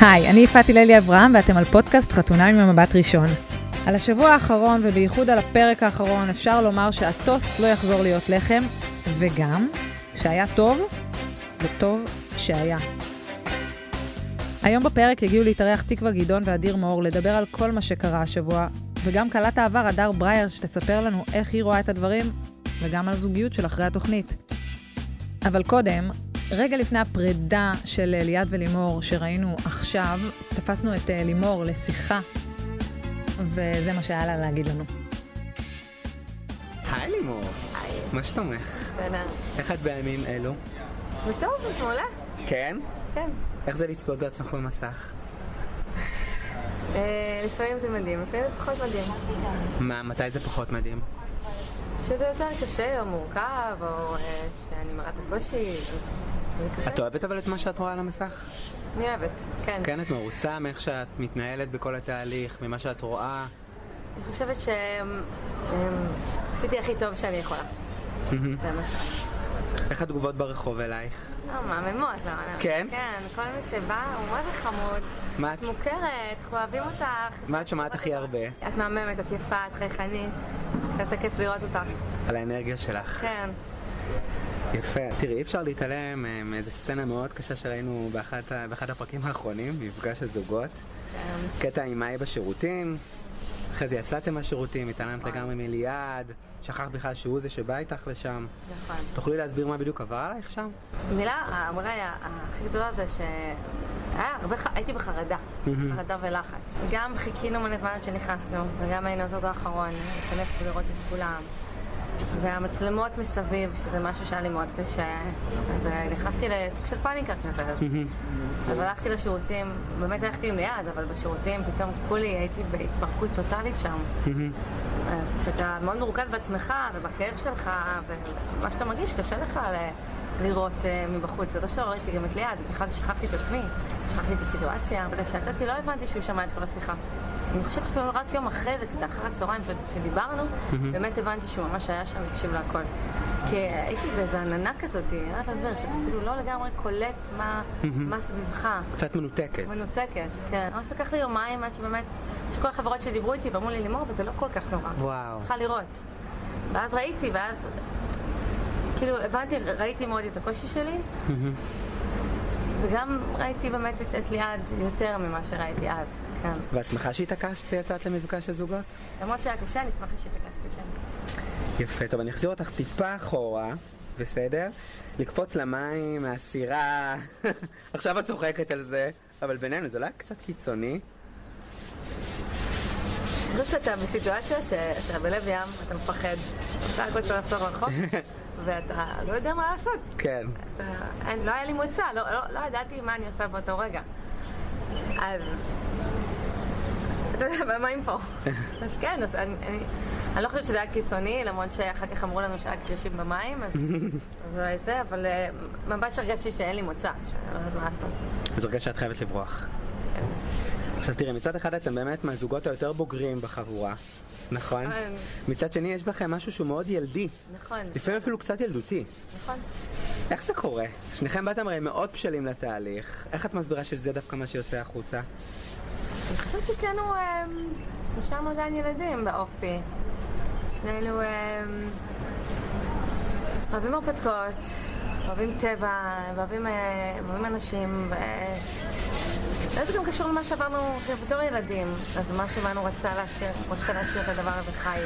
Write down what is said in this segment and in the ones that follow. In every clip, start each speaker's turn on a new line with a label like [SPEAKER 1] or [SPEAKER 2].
[SPEAKER 1] היי, אני יפעת הללי אברהם ואתם על פודקאסט חתונה ממבט ראשון. על השבוע האחרון ובייחוד על הפרק האחרון אפשר לומר שהטוסט לא יחזור להיות לחם, וגם שהיה טוב, וטוב שהיה. היום בפרק הגיעו להתארח תקווה גדעון ואדיר מאור לדבר על כל מה שקרה השבוע, וגם כלת העבר הדר ברייר שתספר לנו איך היא רואה את הדברים, וגם על זוגיות של אחרי התוכנית. אבל קודם, רגע לפני הפרידה של אה, ליעד ולימור שראינו עכשיו, תפסנו את אה, לימור לשיחה, וזה מה שהיה לה להגיד לנו.
[SPEAKER 2] היי לימור, מה שלומך?
[SPEAKER 3] בסדר.
[SPEAKER 2] איך את בימים אלו?
[SPEAKER 3] זה טוב, זה מעולה.
[SPEAKER 2] כן?
[SPEAKER 3] כן.
[SPEAKER 2] איך זה לצפות בעצמך במסך?
[SPEAKER 3] אה, לפעמים זה מדהים, לפעמים זה פחות מדהים.
[SPEAKER 2] מה, מתי זה פחות מדהים?
[SPEAKER 3] שזה יותר קשה או מורכב, או אה, שאני מראה את הקושי. זה קשה.
[SPEAKER 2] את אוהבת אבל את מה שאת רואה על המסך?
[SPEAKER 3] אני אוהבת, כן.
[SPEAKER 2] כן, את מרוצה מאיך שאת מתנהלת בכל התהליך, ממה שאת רואה?
[SPEAKER 3] אני חושבת שעשיתי הכי טוב שאני יכולה.
[SPEAKER 2] מהמם.
[SPEAKER 3] זה מה ש...
[SPEAKER 2] איך התגובות ברחוב אלייך?
[SPEAKER 3] לא, מהממות, לא. לא.
[SPEAKER 2] כן?
[SPEAKER 3] כן, כל מי שבא הוא מה זה חמוד.
[SPEAKER 2] מה את-
[SPEAKER 3] את מוכרת, אנחנו אוהבים אותך.
[SPEAKER 2] מה את שומעת הכי הרבה?
[SPEAKER 3] את מהממת, את יפה, את חייכנית. איזה כיף לראות אותך.
[SPEAKER 2] על האנרגיה שלך.
[SPEAKER 3] כן.
[SPEAKER 2] יפה. תראי, אי אפשר להתעלם אה, מאיזו סצנה מאוד קשה שראינו באחת ה- באחד הפרקים האחרונים, מפגש הזוגות.
[SPEAKER 3] כן.
[SPEAKER 2] קטע עם מאי בשירותים, אחרי זה יצאתם מהשירותים, התעלמת לגמרי מליעד, שכחת בכלל שהוא זה שבא איתך לשם.
[SPEAKER 3] נכון.
[SPEAKER 2] תוכלי להסביר מה בדיוק עבר עלייך שם?
[SPEAKER 3] המילה, האמרה הכי גדולה זה ש... היה הרבה, ח- הייתי בחרדה,
[SPEAKER 2] מהמם.
[SPEAKER 3] חרדה ולחץ. גם חיכינו מלא זמן עד שנכנסנו, וגם היינו הזוג האחרון, להיכנס ולראות את כולם. והמצלמות מסביב, שזה משהו שהיה לי מאוד קשה, אז אה, נכנסתי לסוג של פאניקה כזה. אז הלכתי לשירותים, באמת הלכתי עם ליד, אבל בשירותים פתאום כולי הייתי בהתפרקות טוטאלית שם. אז כשאתה מאוד מורכז בעצמך ובכאב שלך, ומה שאתה מרגיש, קשה לך ל- לראות אה, מבחוץ. זה לא שראיתי גם את ליעד, בכלל שכחתי את עצמי, שכחתי את הסיטואציה. בגלל שיצאתי לא הבנתי שהוא שמע את כל השיחה. אני חושבת שאפילו רק יום אחרי זה, קצת אחר הצהריים ש- שדיברנו, באמת הבנתי שהוא ממש היה שם והקשיב להכל. כי הייתי באיזה עננה כזאת, אני לא יודעת להסביר, שאתה כאילו לא לגמרי קולט מה מה סביבך.
[SPEAKER 2] קצת מנותקת.
[SPEAKER 3] מנותקת, כן. ממש לקח לי יומיים עד שבאמת, שכל החברות שדיברו איתי ואמרו לי, לימור, אבל זה לא כל כך נורא.
[SPEAKER 2] וואו.
[SPEAKER 3] צריכה לראות. ואז ראיתי, ואז כאילו הבנתי, ראיתי מאוד את הקושי שלי, וגם ראיתי באמת את, את ליעד יותר ממה שראיתי אז, כן.
[SPEAKER 2] ואת שמחה שהתעקשת ויצאת למפגש הזוגות?
[SPEAKER 3] למרות שהיה קשה, אני שמחה שהתעקשתי, כן.
[SPEAKER 2] יפה. טוב, אני אחזיר אותך טיפה אחורה, בסדר? לקפוץ למים, מהסירה. עכשיו את צוחקת על זה, אבל בינינו זה לא היה קצת קיצוני.
[SPEAKER 3] אני חושבת שאתה בסיטואציה שאתה בלב ים, אתה מפחד, אתה רק רוצה לחזור לחוף, ואתה לא יודע מה לעשות.
[SPEAKER 2] כן.
[SPEAKER 3] אתה- אין, לא היה לי מוצא, לא, לא, לא ידעתי מה אני עושה באותו רגע. אז... אתה יודע, מה- מה אם פה? אז כן, אז אני, אני, אני לא חושבת שזה היה קיצוני, למרות שאחר כך אמרו לנו שהיה קרישים במים, אז אז אולי זה, אבל אה, ממש הרגשתי שאין לי מוצא, שאני לא יודעת מה לעשות.
[SPEAKER 2] אז הרגשת שאת חייבת לברוח. עכשיו תראי, מצד אחד אתם באמת מהזוגות היותר בוגרים בחבורה, נכון?
[SPEAKER 3] נכון.
[SPEAKER 2] מצד שני יש בכם משהו שהוא מאוד ילדי,
[SPEAKER 3] נכון,
[SPEAKER 2] לפעמים אפילו קצת ילדותי.
[SPEAKER 3] נכון.
[SPEAKER 2] איך זה קורה? שניכם באתם הרי מאוד בשלים לתהליך, איך את מסבירה שזה דווקא מה שיוצא החוצה?
[SPEAKER 3] אני חושבת ששנינו, אה, נשארנו עדיין ילדים באופי. שנינו אה, אוהבים הרפתקאות, אוהבים טבע, אוהבים, אה, אוהבים אנשים. ו... אה, זה גם קשור למה שעברנו בתור ילדים, אז זה משהו בנו רצה להשאיר, רוצה להשאיר את הדבר הזה חי.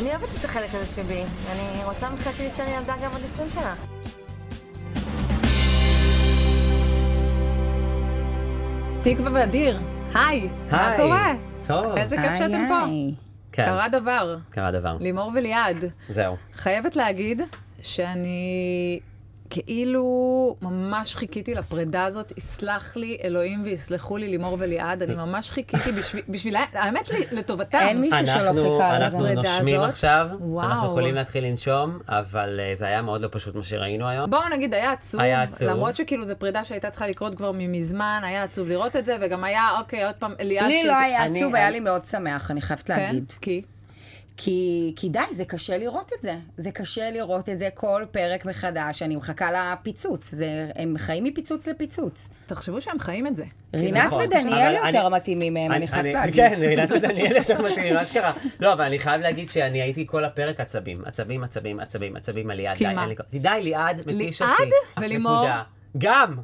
[SPEAKER 3] אני אוהבת את החלק הזה שבי, אני רוצה מבחינתי להישאר ילדה גם עוד 20 שנה.
[SPEAKER 1] תקווה ואדיר, היי, מה
[SPEAKER 4] היי.
[SPEAKER 1] קורה?
[SPEAKER 4] טוב.
[SPEAKER 1] איזה כיף שאתם פה.
[SPEAKER 4] כן,
[SPEAKER 1] קרה דבר,
[SPEAKER 4] קרה דבר.
[SPEAKER 1] לימור וליעד.
[SPEAKER 4] זהו.
[SPEAKER 1] חייבת להגיד שאני כאילו ממש חיכיתי לפרידה הזאת, יסלח לי אלוהים ויסלחו לי לימור וליעד, אני ממש חיכיתי בשביל, בשביל האמת, לי, לטובתם.
[SPEAKER 5] אין מישהו שלא
[SPEAKER 4] אנחנו,
[SPEAKER 5] חיכה לזה.
[SPEAKER 4] אנחנו
[SPEAKER 1] הפרידה
[SPEAKER 4] נושמים
[SPEAKER 1] הזאת.
[SPEAKER 4] עכשיו,
[SPEAKER 1] וואו.
[SPEAKER 4] אנחנו יכולים להתחיל לנשום, אבל אה, זה היה מאוד לא פשוט מה שראינו היום.
[SPEAKER 1] בואו נגיד, היה עצוב.
[SPEAKER 4] היה עצוב.
[SPEAKER 1] למרות שכאילו זו פרידה שהייתה צריכה לקרות כבר מזמן, היה עצוב לראות את זה, וגם היה, אוקיי, עוד פעם, אליעד...
[SPEAKER 5] לי
[SPEAKER 1] ש-
[SPEAKER 5] לא היה
[SPEAKER 4] אני-
[SPEAKER 5] עצוב,
[SPEAKER 4] אני-
[SPEAKER 5] היה לי מאוד שמח, אני חייבת
[SPEAKER 1] כן?
[SPEAKER 5] להגיד.
[SPEAKER 1] כי?
[SPEAKER 5] כי, כי די, זה קשה לראות את זה. זה קשה לראות את זה כל פרק מחדש. אני מחכה לפיצוץ. זה, הם חיים מפיצוץ לפיצוץ.
[SPEAKER 1] תחשבו שהם חיים את זה.
[SPEAKER 5] רינת
[SPEAKER 4] כן, נכון,
[SPEAKER 5] ודניאל
[SPEAKER 4] אבל
[SPEAKER 5] יותר
[SPEAKER 4] אני-
[SPEAKER 5] מתאימים
[SPEAKER 1] אה,
[SPEAKER 5] מהם, אני חייבת להגיד.
[SPEAKER 4] כן, רינת ודניאל יותר מתאים ממה שקרה. לא, אבל אני חייב להגיד שאני הייתי כל הפרק עצבים. עצבים, עצבים, עצבים, עצבים על ליעד.
[SPEAKER 1] כי
[SPEAKER 4] די,
[SPEAKER 1] מה?
[SPEAKER 4] אין לי כוח. די, ליעד מתיש אותי.
[SPEAKER 1] ליעד ולימור?
[SPEAKER 4] נקודה. גם,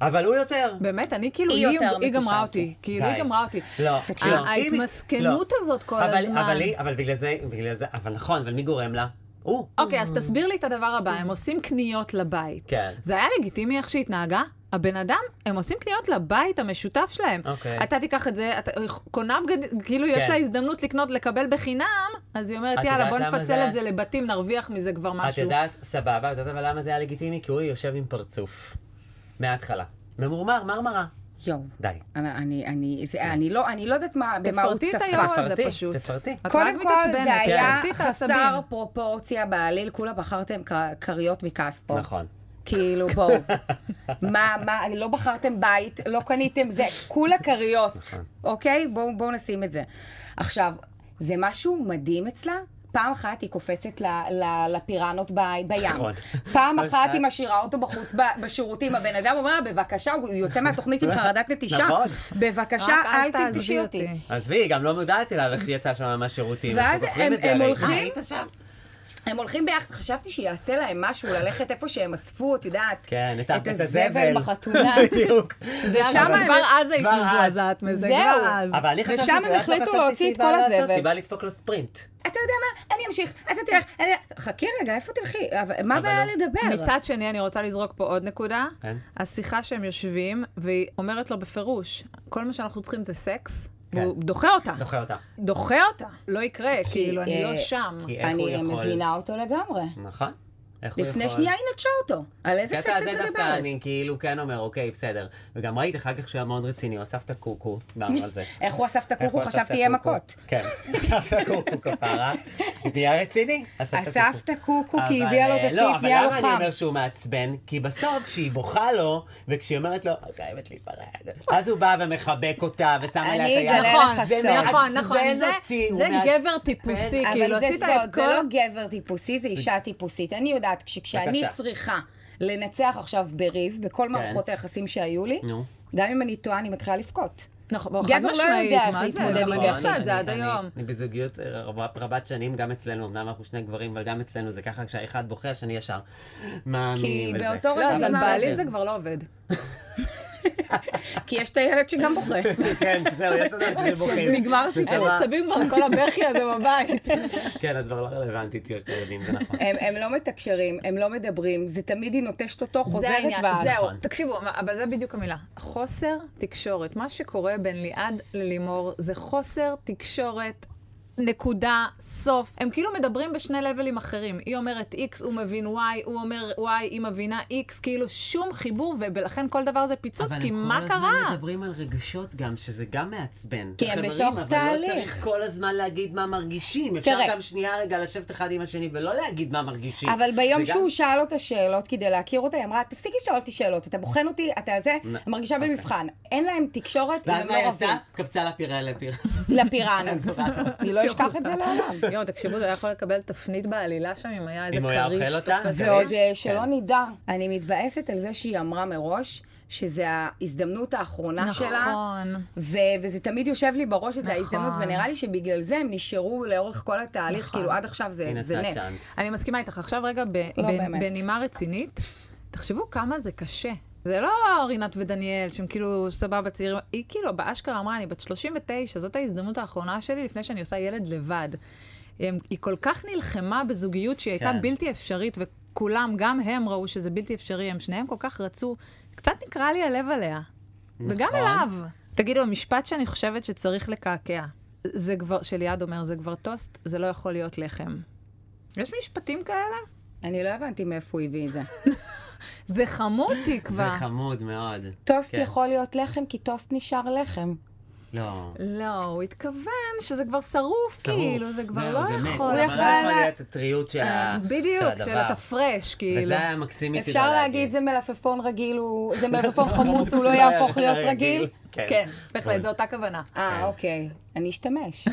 [SPEAKER 4] אבל הוא יותר.
[SPEAKER 1] באמת, אני כאילו,
[SPEAKER 5] היא
[SPEAKER 1] היא,
[SPEAKER 5] יותר
[SPEAKER 1] היא
[SPEAKER 5] מתישה
[SPEAKER 1] גמרה
[SPEAKER 5] אותי.
[SPEAKER 1] אותי. כאילו, היא
[SPEAKER 4] די.
[SPEAKER 1] גמרה אותי.
[SPEAKER 4] לא,
[SPEAKER 5] תקשיב,
[SPEAKER 4] לא. היא מס-
[SPEAKER 1] ההתמסכנות
[SPEAKER 4] לא.
[SPEAKER 1] הזאת כל
[SPEAKER 4] אבל-
[SPEAKER 1] הזמן.
[SPEAKER 4] אבל היא, אבל בגלל זה, בגלל זה, אבל נכון, אבל מי גורם לה? הוא.
[SPEAKER 1] אוקיי, אז תסביר לי את הדבר הבא, הם עושים קניות לבית.
[SPEAKER 4] כן.
[SPEAKER 1] זה היה לגיטימי איך שהיא התנהגה? הבן אדם, הם עושים קניות לבית המשותף שלהם.
[SPEAKER 4] אוקיי.
[SPEAKER 1] אתה תיקח את זה, אתה קונה בגדים, כאילו יש
[SPEAKER 4] כן.
[SPEAKER 1] לה הזדמנות לקנות, לקבל בחינם, אז היא אומרת,
[SPEAKER 4] את
[SPEAKER 1] יאללה,
[SPEAKER 4] יודעת
[SPEAKER 1] בוא
[SPEAKER 4] למה
[SPEAKER 1] נפצל
[SPEAKER 4] זה-
[SPEAKER 1] את זה לבתים, נרוויח מזה כבר
[SPEAKER 4] את
[SPEAKER 1] משהו.
[SPEAKER 4] יודעת, סבבה, את יודעת אבל למה זה היה לגיטימי? כי הוא יושב עם פרצוף. מההתחלה. ממורמר, מרמרה.
[SPEAKER 5] יואו.
[SPEAKER 4] די. כן.
[SPEAKER 5] אני, אני, אני, זה, אני, לא, אני לא יודעת מה, במה הוא
[SPEAKER 1] תפרטי את
[SPEAKER 5] צפה.
[SPEAKER 1] הירוע הזה
[SPEAKER 4] תפרטי,
[SPEAKER 1] פשוט.
[SPEAKER 4] תפרטי.
[SPEAKER 1] את רק
[SPEAKER 5] קודם כל,
[SPEAKER 1] מתעצבנת, כן.
[SPEAKER 5] זה היה
[SPEAKER 1] תפרטי את
[SPEAKER 5] חסר
[SPEAKER 1] העצבים.
[SPEAKER 5] פרופורציה בעליל, כולה בחרתם כ- כריות מקסטרו.
[SPEAKER 4] נכון.
[SPEAKER 5] כאילו, בואו. מה, מה, לא בחרתם בית, לא קניתם זה, כולה כריות,
[SPEAKER 4] נכון.
[SPEAKER 5] אוקיי? בואו בואו נשים את זה. עכשיו, זה משהו מדהים אצלה. פעם אחת היא קופצת ל, ל, לפיראנות ב, בים.
[SPEAKER 4] נכון.
[SPEAKER 1] לא
[SPEAKER 5] פעם אחת היא משאירה אותו בחוץ ב, בשירותים. הבן אדם אומר לה, בבקשה, הוא יוצא מהתוכנית עם חרדת נטישה.
[SPEAKER 4] נכון.
[SPEAKER 5] בבקשה,
[SPEAKER 1] רק אל
[SPEAKER 5] אל
[SPEAKER 1] תעזבי
[SPEAKER 5] תנטשי אותי.
[SPEAKER 1] אותי.
[SPEAKER 4] עזבי, היא גם לא מודעת אליו איך שהיא יצאה שם מהשירותים.
[SPEAKER 5] ואז
[SPEAKER 4] אנחנו כאילו,
[SPEAKER 5] הם-
[SPEAKER 4] זוכרים את זה
[SPEAKER 5] הם
[SPEAKER 4] הרי.
[SPEAKER 5] הולכים-
[SPEAKER 4] אה, היית שם?
[SPEAKER 5] הם הולכים ביחד, חשבתי שיעשה להם משהו, ללכת איפה שהם אספו, את יודעת,
[SPEAKER 4] כן, את ה- את
[SPEAKER 5] הזבל
[SPEAKER 4] הזבל.
[SPEAKER 5] בחתונה.
[SPEAKER 4] בדיוק.
[SPEAKER 5] ושם
[SPEAKER 1] אבל
[SPEAKER 5] הם-
[SPEAKER 1] כבר אז היית
[SPEAKER 4] כבר אז.
[SPEAKER 1] מזועזעת מזה,
[SPEAKER 5] זהו.
[SPEAKER 1] כבר אז.
[SPEAKER 4] אבל אני חשבתי,
[SPEAKER 5] ושם הם
[SPEAKER 4] את יודעת מה
[SPEAKER 5] החליטו
[SPEAKER 4] חשבתי
[SPEAKER 5] להוציא
[SPEAKER 4] שהיא
[SPEAKER 5] את
[SPEAKER 4] באה
[SPEAKER 5] כל
[SPEAKER 4] לעשות?
[SPEAKER 5] הזבל.
[SPEAKER 4] שהיא באה לדפוק לו ספרינט.
[SPEAKER 5] אתה יודע מה, אני אמשיך, אתה תלך, אני... חכי רגע, איפה תלכי? אבל מה
[SPEAKER 4] אבל
[SPEAKER 5] הבעיה
[SPEAKER 4] לא.
[SPEAKER 5] לדבר?
[SPEAKER 1] מצד שני, אני רוצה לזרוק פה עוד נקודה.
[SPEAKER 4] כן.
[SPEAKER 1] השיחה שהם יושבים, והיא אומרת לו בפירוש, כל מה שאנחנו צריכים זה סקס,
[SPEAKER 4] כן.
[SPEAKER 1] והוא דוחה אותה.
[SPEAKER 4] דוחה אותה.
[SPEAKER 1] דוחה אותה. לא יקרה, כאילו, אני
[SPEAKER 5] אה,
[SPEAKER 1] לא שם.
[SPEAKER 4] כי איך הוא
[SPEAKER 5] אני
[SPEAKER 4] יכול...
[SPEAKER 5] מבינה אותו לגמרי.
[SPEAKER 4] נכון. איך הוא
[SPEAKER 5] לפני
[SPEAKER 4] יכול?
[SPEAKER 5] שנייה היא נטשה אותו. על איזה סקס
[SPEAKER 4] הקטע
[SPEAKER 5] את
[SPEAKER 4] הזה דווקא
[SPEAKER 5] מדברת?
[SPEAKER 4] אני כאילו כן אומר, אוקיי, בסדר. וגם ראית אחר כך שהוא היה מאוד רציני, הוא אסף את הקוקו, דיברנו על זה.
[SPEAKER 5] איך הוא אסף את
[SPEAKER 4] איך
[SPEAKER 5] הקוקו?
[SPEAKER 4] הוא אסף
[SPEAKER 5] חשבתי יהיה
[SPEAKER 4] את הקוקו?
[SPEAKER 5] מכות.
[SPEAKER 4] כן, אסף את הקוקו כפרה, נהיה רציני.
[SPEAKER 5] אסף את הקוקו כי היא
[SPEAKER 4] אבל,
[SPEAKER 5] הביאה לו
[SPEAKER 4] אה,
[SPEAKER 5] את הסעיף, נהיה לו
[SPEAKER 4] לא, אבל למה אני
[SPEAKER 5] חם.
[SPEAKER 4] אומר שהוא מעצבן? כי בסוף, כשהיא בוכה לו, וכשהיא אומרת לו, "את חייבת להיפרד, אז הוא בא ומחבק אותה, ושם עליה את
[SPEAKER 5] אני
[SPEAKER 4] היד.
[SPEAKER 5] אגלה לך
[SPEAKER 1] נכון,
[SPEAKER 5] זה
[SPEAKER 1] נכון, נכון, זה-
[SPEAKER 4] אותי, הוא
[SPEAKER 1] זה גבר
[SPEAKER 4] מעצבן.
[SPEAKER 1] טיפוסי, כאילו,
[SPEAKER 5] אבל זה
[SPEAKER 1] עשית
[SPEAKER 5] סוד,
[SPEAKER 1] את
[SPEAKER 5] זה לא
[SPEAKER 1] כל...
[SPEAKER 5] גבר טיפוסי, זה אישה טיפוסית. אני יודעת, כש- כשאני
[SPEAKER 4] בבקשה.
[SPEAKER 5] צריכה לנצח עכשיו בריב, בכל מערכות היחסים שהיו לי,
[SPEAKER 4] נו.
[SPEAKER 5] גם אם אני טועה, אני מתחילה לבכות.
[SPEAKER 1] נכון, בוא, חד
[SPEAKER 5] גבר לא
[SPEAKER 1] משמעית,
[SPEAKER 5] יודע איך
[SPEAKER 1] מה זה?
[SPEAKER 5] להתמודד
[SPEAKER 1] גם
[SPEAKER 4] נכון.
[SPEAKER 5] עם
[SPEAKER 1] אני
[SPEAKER 5] זה.
[SPEAKER 1] עושה את זה
[SPEAKER 4] אני-
[SPEAKER 1] עד
[SPEAKER 4] אני-
[SPEAKER 1] היום.
[SPEAKER 4] אני בזוגיות רב- רבת שנים, גם אצלנו, אמנם אנחנו שני גברים, אבל גם אצלנו זה ככה, כשהאחד בוכה, השני ישר. מאמין וזה.
[SPEAKER 5] באותו
[SPEAKER 1] לא,
[SPEAKER 5] רגע
[SPEAKER 1] אז
[SPEAKER 5] זה
[SPEAKER 1] על
[SPEAKER 5] מה
[SPEAKER 1] בעלי
[SPEAKER 5] זה.
[SPEAKER 1] זה כבר לא עובד.
[SPEAKER 5] כי יש את הילד שגם בוכה.
[SPEAKER 4] כן, זהו, יש עוד אנשים שבוכים.
[SPEAKER 5] נגמר הסיפור.
[SPEAKER 1] אין
[SPEAKER 4] אבל-
[SPEAKER 1] עצבים כבר, כל הבכי הזה בבית.
[SPEAKER 4] כן, את כבר לא רלוונטית, יש את הילדים, זה נכון.
[SPEAKER 5] הם, הם לא מתקשרים, הם לא מדברים, זה תמיד היא נוטשת אותו,
[SPEAKER 6] זה
[SPEAKER 5] חוזרת
[SPEAKER 6] העניין,
[SPEAKER 5] ואז.
[SPEAKER 6] זהו.
[SPEAKER 4] נכון.
[SPEAKER 1] תקשיבו, אבל זה בדיוק המילה. חוסר תקשורת. מה שקורה בין ליעד ללימור זה חוסר תקשורת. נקודה, סוף. הם כאילו מדברים בשני לבלים אחרים. היא אומרת X, הוא מבין Y, הוא אומר Y, היא מבינה X, כאילו שום חיבור, ולכן כל דבר זה פיצוץ, כי מה
[SPEAKER 4] אבל הם כל
[SPEAKER 1] קרה?
[SPEAKER 4] הזמן מדברים על רגשות גם, שזה גם מעצבן.
[SPEAKER 5] כי הם
[SPEAKER 4] חברים,
[SPEAKER 5] כן, בתוך
[SPEAKER 4] אבל לא
[SPEAKER 5] תהליך.
[SPEAKER 4] צריך כל הזמן להגיד מה מרגישים. אפשר
[SPEAKER 5] תראה.
[SPEAKER 4] גם שנייה רגע לשבת אחד עם השני ולא להגיד מה מרגישים.
[SPEAKER 5] אבל ביום
[SPEAKER 4] זה גם-
[SPEAKER 5] שהוא שאל אותה שאלות כדי להכיר אותה, היא אמרה, תפסיקי לשאול אותי שאלות, אתה בוחן אותי, אתה זה,
[SPEAKER 4] נ-
[SPEAKER 5] מרגישה
[SPEAKER 4] אוקיי.
[SPEAKER 5] במבחן. אין להם תקשורת, אם
[SPEAKER 4] ואז
[SPEAKER 5] הם
[SPEAKER 4] מה
[SPEAKER 5] לא
[SPEAKER 4] היא עשתה?
[SPEAKER 5] רבים.
[SPEAKER 4] קפצה לפירה לפיר.
[SPEAKER 5] לפיראנו. אני לא אשכח את זה לעולם.
[SPEAKER 1] יואו, תקשיבו, זה היה יכול לקבל תפנית בעלילה שם, אם היה איזה
[SPEAKER 4] אם הוא היה
[SPEAKER 1] כריש
[SPEAKER 4] אוכל אותה?
[SPEAKER 1] תופס.
[SPEAKER 5] זה עוד
[SPEAKER 4] יש?
[SPEAKER 5] אה, שלא
[SPEAKER 4] כן.
[SPEAKER 5] נדע. אני מתבאסת על זה שהיא אמרה מראש. שזה ההזדמנות האחרונה שלה,
[SPEAKER 1] נכון.
[SPEAKER 5] ו- וזה תמיד יושב לי בראש שזה
[SPEAKER 1] נכון.
[SPEAKER 5] ההזדמנות, ונראה לי שבגלל זה הם נשארו לאורך כל התהליך,
[SPEAKER 1] נכון.
[SPEAKER 5] כאילו עד עכשיו זה
[SPEAKER 4] הנה,
[SPEAKER 5] זה
[SPEAKER 4] נתנה
[SPEAKER 5] נס.
[SPEAKER 4] צ'אנס.
[SPEAKER 1] אני מסכימה איתך. עכשיו רגע, ב-
[SPEAKER 5] לא
[SPEAKER 1] בנ-
[SPEAKER 5] באמת.
[SPEAKER 1] בנימה רצינית, תחשבו כמה זה קשה. זה לא רינת ודניאל, שהם כאילו סבבה צעירים, היא כאילו באשכרה אמרה, אני בת 39, זאת ההזדמנות האחרונה שלי לפני שאני עושה ילד לבד. הם, היא כל כך נלחמה בזוגיות שהיא הייתה
[SPEAKER 4] כן.
[SPEAKER 1] בלתי אפשרית, וכולם, גם הם ראו שזה בלתי אפשרי, הם שניהם כל כך רצו, קצת נקרע לי הלב עליה. וגם
[SPEAKER 4] נכון.
[SPEAKER 1] אליו. תגידו, המשפט שאני חושבת שצריך לקעקע, זה כבר, שליעד אומר, זה כבר טוסט, זה לא יכול להיות לחם. יש משפטים כאלה?
[SPEAKER 5] אני לא הבנתי מאיפה הוא הביא את זה.
[SPEAKER 1] זה חמוד
[SPEAKER 4] זה
[SPEAKER 1] תקווה.
[SPEAKER 4] חמוד מאוד.
[SPEAKER 5] טוסט
[SPEAKER 4] כן.
[SPEAKER 5] יכול להיות לחם, כי טוסט נשאר לחם.
[SPEAKER 4] לא.
[SPEAKER 1] לא, הוא התכוון שזה כבר שרוף,
[SPEAKER 4] שרוף.
[SPEAKER 1] כאילו, זה כבר
[SPEAKER 4] זהו,
[SPEAKER 1] לא
[SPEAKER 4] מת.
[SPEAKER 1] יכול.
[SPEAKER 4] זה
[SPEAKER 5] הוא
[SPEAKER 4] כבר
[SPEAKER 5] יכול
[SPEAKER 4] לא יכול
[SPEAKER 5] לה-
[SPEAKER 4] להיות הטריות של ה- של
[SPEAKER 5] אה,
[SPEAKER 4] הדבר.
[SPEAKER 1] בדיוק, של התפרש, כאילו.
[SPEAKER 4] וזה היה מקסים מצידה
[SPEAKER 5] אפשר להגיד זה מלפפון רגיל, הוא- זה מלפפון חמוץ, הוא לא
[SPEAKER 4] היה
[SPEAKER 5] יהפוך להיות רגיל?
[SPEAKER 1] כן, בהחלט, זו אותה כוונה.
[SPEAKER 4] כן.
[SPEAKER 5] אה, אוקיי. אני אשתמש.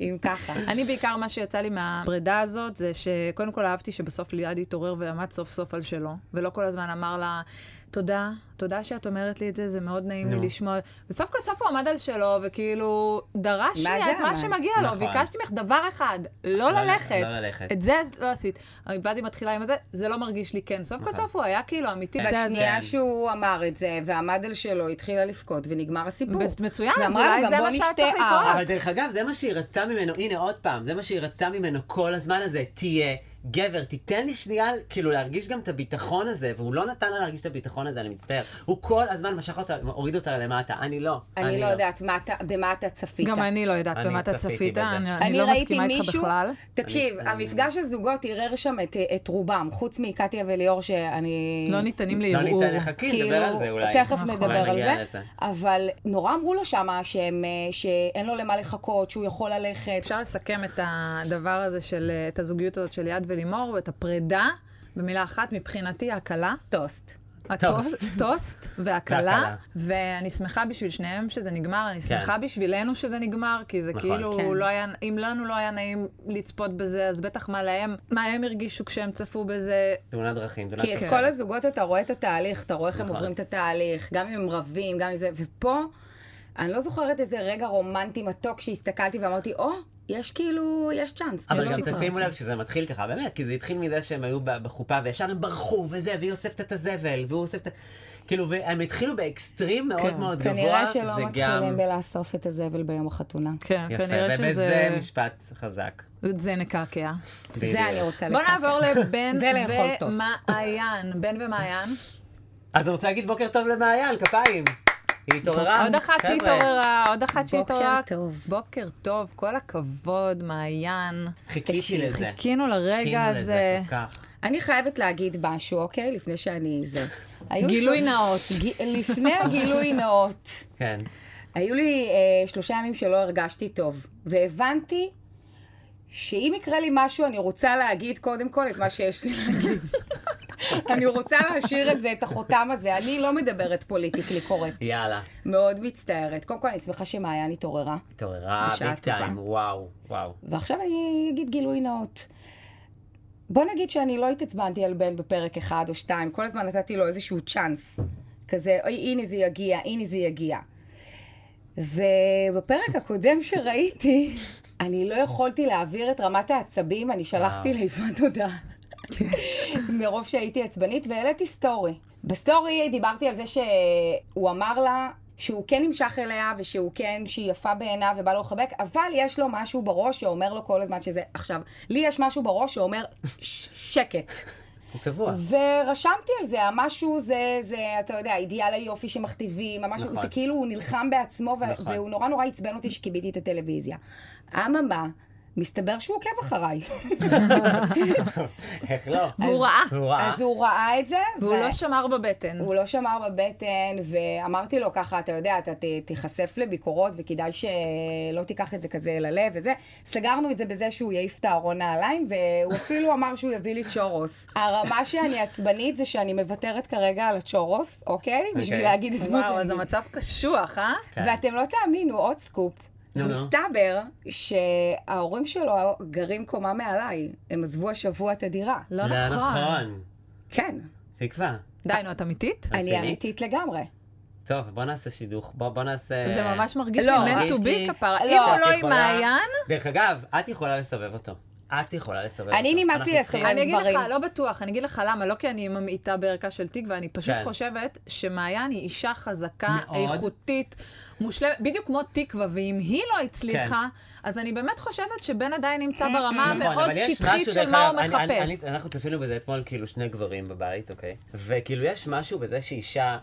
[SPEAKER 5] אם ככה.
[SPEAKER 1] אני בעיקר, מה שיצא לי מהפרידה הזאת, זה שקודם כל אהבתי שבסוף ליעד התעורר ועמד סוף סוף על שלו, ולא כל הזמן אמר לה, תודה, תודה שאת אומרת לי את זה, זה מאוד נעים לי לשמוע. וסוף כל סוף הוא עמד על שלו, וכאילו, דרש
[SPEAKER 5] מה
[SPEAKER 1] שנייה
[SPEAKER 5] זה
[SPEAKER 1] את מה
[SPEAKER 5] עמד?
[SPEAKER 1] שמגיע לו,
[SPEAKER 4] נכון.
[SPEAKER 1] ביקשתי ממך דבר אחד, לא
[SPEAKER 4] לא
[SPEAKER 1] ללכת.
[SPEAKER 4] לא ללכת.
[SPEAKER 1] את זה אז לא עשית. אני באתי מתחילה עם זה, זה לא מרגיש לי כן. סוף כל
[SPEAKER 4] נכון.
[SPEAKER 1] סוף הוא היה כאילו אמיתי. זה-
[SPEAKER 5] בשנייה
[SPEAKER 4] כן.
[SPEAKER 5] שהוא אמר את זה, ועמד על שלו, התחילה לבכות, ונגמר הסיפור.
[SPEAKER 1] בס- מצוין,
[SPEAKER 5] ואמרה
[SPEAKER 1] אז
[SPEAKER 5] לו,
[SPEAKER 1] אולי
[SPEAKER 5] גם
[SPEAKER 1] זה
[SPEAKER 5] בוא
[SPEAKER 1] מה שהיה
[SPEAKER 5] נשתה
[SPEAKER 1] צריך לקרות.
[SPEAKER 5] ערק.
[SPEAKER 4] אבל דרך אגב, זה מה שהיא רצתה ממנו, הנה עוד פעם, זה מה שהיא רצתה ממנו כל הזמן הזה, תהיה גבר, תיתן לי שנייה, כאילו להרגיש גם את הביטחון הזה, והוא לא נתן לה להרגיש את הביטחון הזה, אני מצטער. הוא כל הזמן משך אותה, הוריד אותה למטה, אני לא.
[SPEAKER 5] אני לא יודעת מה אתה- במה אתה צפית.
[SPEAKER 1] גם אני לא יודעת
[SPEAKER 4] אני
[SPEAKER 1] במה אתה
[SPEAKER 4] צפיתי
[SPEAKER 1] צפית,
[SPEAKER 4] בזה.
[SPEAKER 1] אני אני
[SPEAKER 5] אני
[SPEAKER 1] לא
[SPEAKER 5] ראיתי
[SPEAKER 1] מסכימה איתך
[SPEAKER 5] מישהו,
[SPEAKER 1] בכלל.
[SPEAKER 5] תקשיב, המפגש הזוגות ערער שם את- את רובם, חוץ מקטיה וליאור שאני...
[SPEAKER 1] לא ניתנים
[SPEAKER 4] לא
[SPEAKER 1] לערעור.
[SPEAKER 4] ניתן לך, כי נדבר על זה אולי.
[SPEAKER 5] כאילו, תכף
[SPEAKER 4] נכון.
[SPEAKER 5] נדבר
[SPEAKER 4] אולי
[SPEAKER 5] על
[SPEAKER 4] נגיע
[SPEAKER 5] זה,
[SPEAKER 4] לזה.
[SPEAKER 5] אבל נורא אמרו לו שמה שהם, אה, שאין לו למה לחכות, שהוא יכול ללכת.
[SPEAKER 1] אפשר לסכם את הדבר הזה של, אה, את הזוגיות הזאת של ליעד ולימור, ואת הפרידה, במילה אחת, מבחינתי, הקלה.
[SPEAKER 5] טוסט.
[SPEAKER 1] הטוסט, טוסט והקלה,
[SPEAKER 4] והקלה. כן.
[SPEAKER 1] ואני שמחה בשביל שניהם שזה נגמר, אני שמחה בשבילנו שזה נגמר, כי זה
[SPEAKER 4] נכון.
[SPEAKER 1] כאילו,
[SPEAKER 5] כן.
[SPEAKER 1] לא היה, אם לנו לא היה נעים לצפות בזה, אז בטח מה להם, מה הם הרגישו כשהם צפו בזה,
[SPEAKER 4] תאונת דרכים, תאונת
[SPEAKER 5] כי את
[SPEAKER 4] דרכים.
[SPEAKER 5] כל הזוגות אתה רואה את התהליך, אתה רואה איך הם
[SPEAKER 4] נכון.
[SPEAKER 5] עוברים את התהליך, גם אם הם רבים, גם אם זה, ופה, אני לא זוכרת איזה רגע רומנטי מתוק שהסתכלתי ואמרתי, או, יש כאילו, יש צ'אנס.
[SPEAKER 4] אבל
[SPEAKER 5] אני לא
[SPEAKER 4] גם
[SPEAKER 5] זוכרת.
[SPEAKER 4] תשימו לב שזה מתחיל ככה, באמת, כי זה התחיל מזה שהם היו ב- בחופה וישר הם ברחו וזה, והיא אוספת את הזבל, והוא אוסף את ה... כאילו, והם התחילו באקסטרים מאוד
[SPEAKER 1] כן.
[SPEAKER 4] מאוד גבוה,
[SPEAKER 5] כנראה שלא
[SPEAKER 4] זה
[SPEAKER 5] מתחילים
[SPEAKER 4] גם...
[SPEAKER 5] בלאסוף את הזבל ביום החתונה.
[SPEAKER 1] כן,
[SPEAKER 4] יפה,
[SPEAKER 1] כנראה
[SPEAKER 4] ובזה
[SPEAKER 1] שזה,
[SPEAKER 4] משפט חזק.
[SPEAKER 1] זה נקעקע.
[SPEAKER 4] בדיוק.
[SPEAKER 5] זה אני רוצה
[SPEAKER 1] בוא
[SPEAKER 5] לקחת.
[SPEAKER 1] נעבור לבן
[SPEAKER 5] ולאכול טוסט.
[SPEAKER 1] ומעיין, בן ומעיין.
[SPEAKER 4] אז אני רוצה להגיד בוקר טוב למעיין, כפיים. היא התעוררה.
[SPEAKER 1] עוד אחת
[SPEAKER 4] אה, חבר'ה.
[SPEAKER 1] שהתעוררה, עוד אחת
[SPEAKER 5] בוקר
[SPEAKER 1] שהתעוררה.
[SPEAKER 5] טוב.
[SPEAKER 1] בוקר טוב, כל הכבוד, מעיין.
[SPEAKER 4] חיכיתי לזה.
[SPEAKER 1] חיכינו לרגע
[SPEAKER 4] חיכינו לזה
[SPEAKER 1] הזה.
[SPEAKER 4] כל כך.
[SPEAKER 5] אני חייבת להגיד משהו, אוקיי? לפני שאני זה. היו
[SPEAKER 1] גילוי
[SPEAKER 5] שלוש-
[SPEAKER 1] נאות.
[SPEAKER 5] ג- לפני הגילוי נאות,
[SPEAKER 4] כן.
[SPEAKER 5] היו לי אה, שלושה ימים שלא הרגשתי טוב, והבנתי שאם יקרה לי משהו, אני רוצה להגיד קודם כל את מה שיש לי להגיד. אני רוצה להשאיר את זה, את החותם הזה. אני לא מדברת פוליטיקלי קורקט.
[SPEAKER 4] יאללה.
[SPEAKER 5] מאוד מצטערת. קודם כל, אני שמחה שמעיין התעוררה.
[SPEAKER 4] התעוררה
[SPEAKER 5] בשעה
[SPEAKER 4] ביג טיים,
[SPEAKER 5] טובה.
[SPEAKER 4] וואו, וואו.
[SPEAKER 5] ועכשיו אני אגיד גילוי נאות. בוא נגיד שאני לא התעצבנתי על בן בפרק אחד או שתיים, כל הזמן נתתי לו איזשהו צ'אנס. כזה, אוי, הנה זה יגיע, הנה זה יגיע. ובפרק הקודם שראיתי, אני לא יכולתי להעביר את רמת העצבים, אני שלחתי
[SPEAKER 4] וואו.
[SPEAKER 5] ליפעת הודעה. מרוב שהייתי עצבנית, והעליתי סטורי. בסטורי דיברתי על זה שהוא אמר לה שהוא כן נמשך אליה, ושהוא כן, שהיא יפה בעיניו ובא לו לחבק, אבל יש לו משהו בראש שאומר לו כל הזמן שזה... עכשיו, לי יש משהו בראש שאומר "ש- שקט.
[SPEAKER 4] הוא צבוע.
[SPEAKER 5] ורשמתי על זה, המשהו זה, זה, אתה יודע, אידיאל היופי שמכתיבים, המשהו,
[SPEAKER 4] נכון.
[SPEAKER 5] זה כאילו הוא נלחם בעצמו, ו-
[SPEAKER 4] נכון.
[SPEAKER 5] והוא נורא נורא עצבן אותי שכיביתי את הטלוויזיה. אממה, מסתבר שהוא עוקב אחריי.
[SPEAKER 4] איך לא?
[SPEAKER 1] והוא ראה,
[SPEAKER 4] הוא ראה.
[SPEAKER 5] אז הוא ראה את זה.
[SPEAKER 1] והוא
[SPEAKER 5] ו-
[SPEAKER 1] לא שמר בבטן.
[SPEAKER 4] Mm.
[SPEAKER 5] הוא לא שמר בבטן, ואמרתי לו ככה, אתה יודע, אתה ת- תיחשף לביקורות, וכדאי שלא תיקח את זה כזה ללב וזה. סגרנו את זה בזה שהוא יעיף את הארון נעליים, והוא אפילו אמר שהוא יביא לי צ'ורוס. הרמה שאני עצבנית זה שאני מוותרת כרגע על הצ'ורוס, אוקיי? בשביל להגיד את מה
[SPEAKER 1] וואו, אז
[SPEAKER 5] שאני...
[SPEAKER 1] המצב קשוח, אה?
[SPEAKER 4] כן.
[SPEAKER 5] ואתם לא תאמינו, עוד סקופ.
[SPEAKER 4] נו, נו.
[SPEAKER 5] מסתבר שההורים שלו גרים קומה מעליי. הם עזבו השבוע את הדירה.
[SPEAKER 1] לא
[SPEAKER 4] לא
[SPEAKER 1] נכון.
[SPEAKER 4] נכון.
[SPEAKER 5] כן,
[SPEAKER 4] תקווה.
[SPEAKER 1] די, נו, את אמיתית?
[SPEAKER 5] אני
[SPEAKER 4] רצינית?
[SPEAKER 5] אמיתית לגמרי.
[SPEAKER 4] טוב, בוא נעשה שידוך, בוא בוא נעשה...
[SPEAKER 1] זה ממש מרגיש לי
[SPEAKER 5] לא,
[SPEAKER 1] meant
[SPEAKER 5] יש
[SPEAKER 1] to
[SPEAKER 4] אה. לי-
[SPEAKER 1] be כפרה.
[SPEAKER 4] לא,
[SPEAKER 1] אם הוא
[SPEAKER 4] את
[SPEAKER 1] לא עם
[SPEAKER 4] יכולה-
[SPEAKER 1] מעיין,
[SPEAKER 4] דרך אגב, את יכולה לסובב אותו. את יכולה לסובב אותו.
[SPEAKER 5] אני נמאס לי
[SPEAKER 4] אנחנו
[SPEAKER 5] לסובב.
[SPEAKER 4] צריכים-
[SPEAKER 5] כן,
[SPEAKER 1] אני אגיד
[SPEAKER 5] גברים.
[SPEAKER 1] לך, לא בטוח, אני אגיד לך למה, לא כי אני ממעיטה בערכה של תקווה, אני פשוט
[SPEAKER 4] כן.
[SPEAKER 1] חושבת שמעיין היא אישה חזקה,
[SPEAKER 4] מאוד.
[SPEAKER 1] איכותית, מושלמת, בדיוק כמו תקווה, ואם היא לא הצליחה, אז אני באמת חושבת שבן עדיין נמצא ברמה
[SPEAKER 4] נכון,
[SPEAKER 1] המאוד
[SPEAKER 4] אבל כן. יש
[SPEAKER 1] שטחית
[SPEAKER 4] משהו,
[SPEAKER 1] של
[SPEAKER 4] דרך
[SPEAKER 1] מה הוא
[SPEAKER 4] אגב, אני- אני-
[SPEAKER 1] מחפש.
[SPEAKER 4] אני- אנחנו צפינו בזה אתמול, כאילו, שני גברים בבית, אוקיי? וכאילו, יש משהו בזה שאישה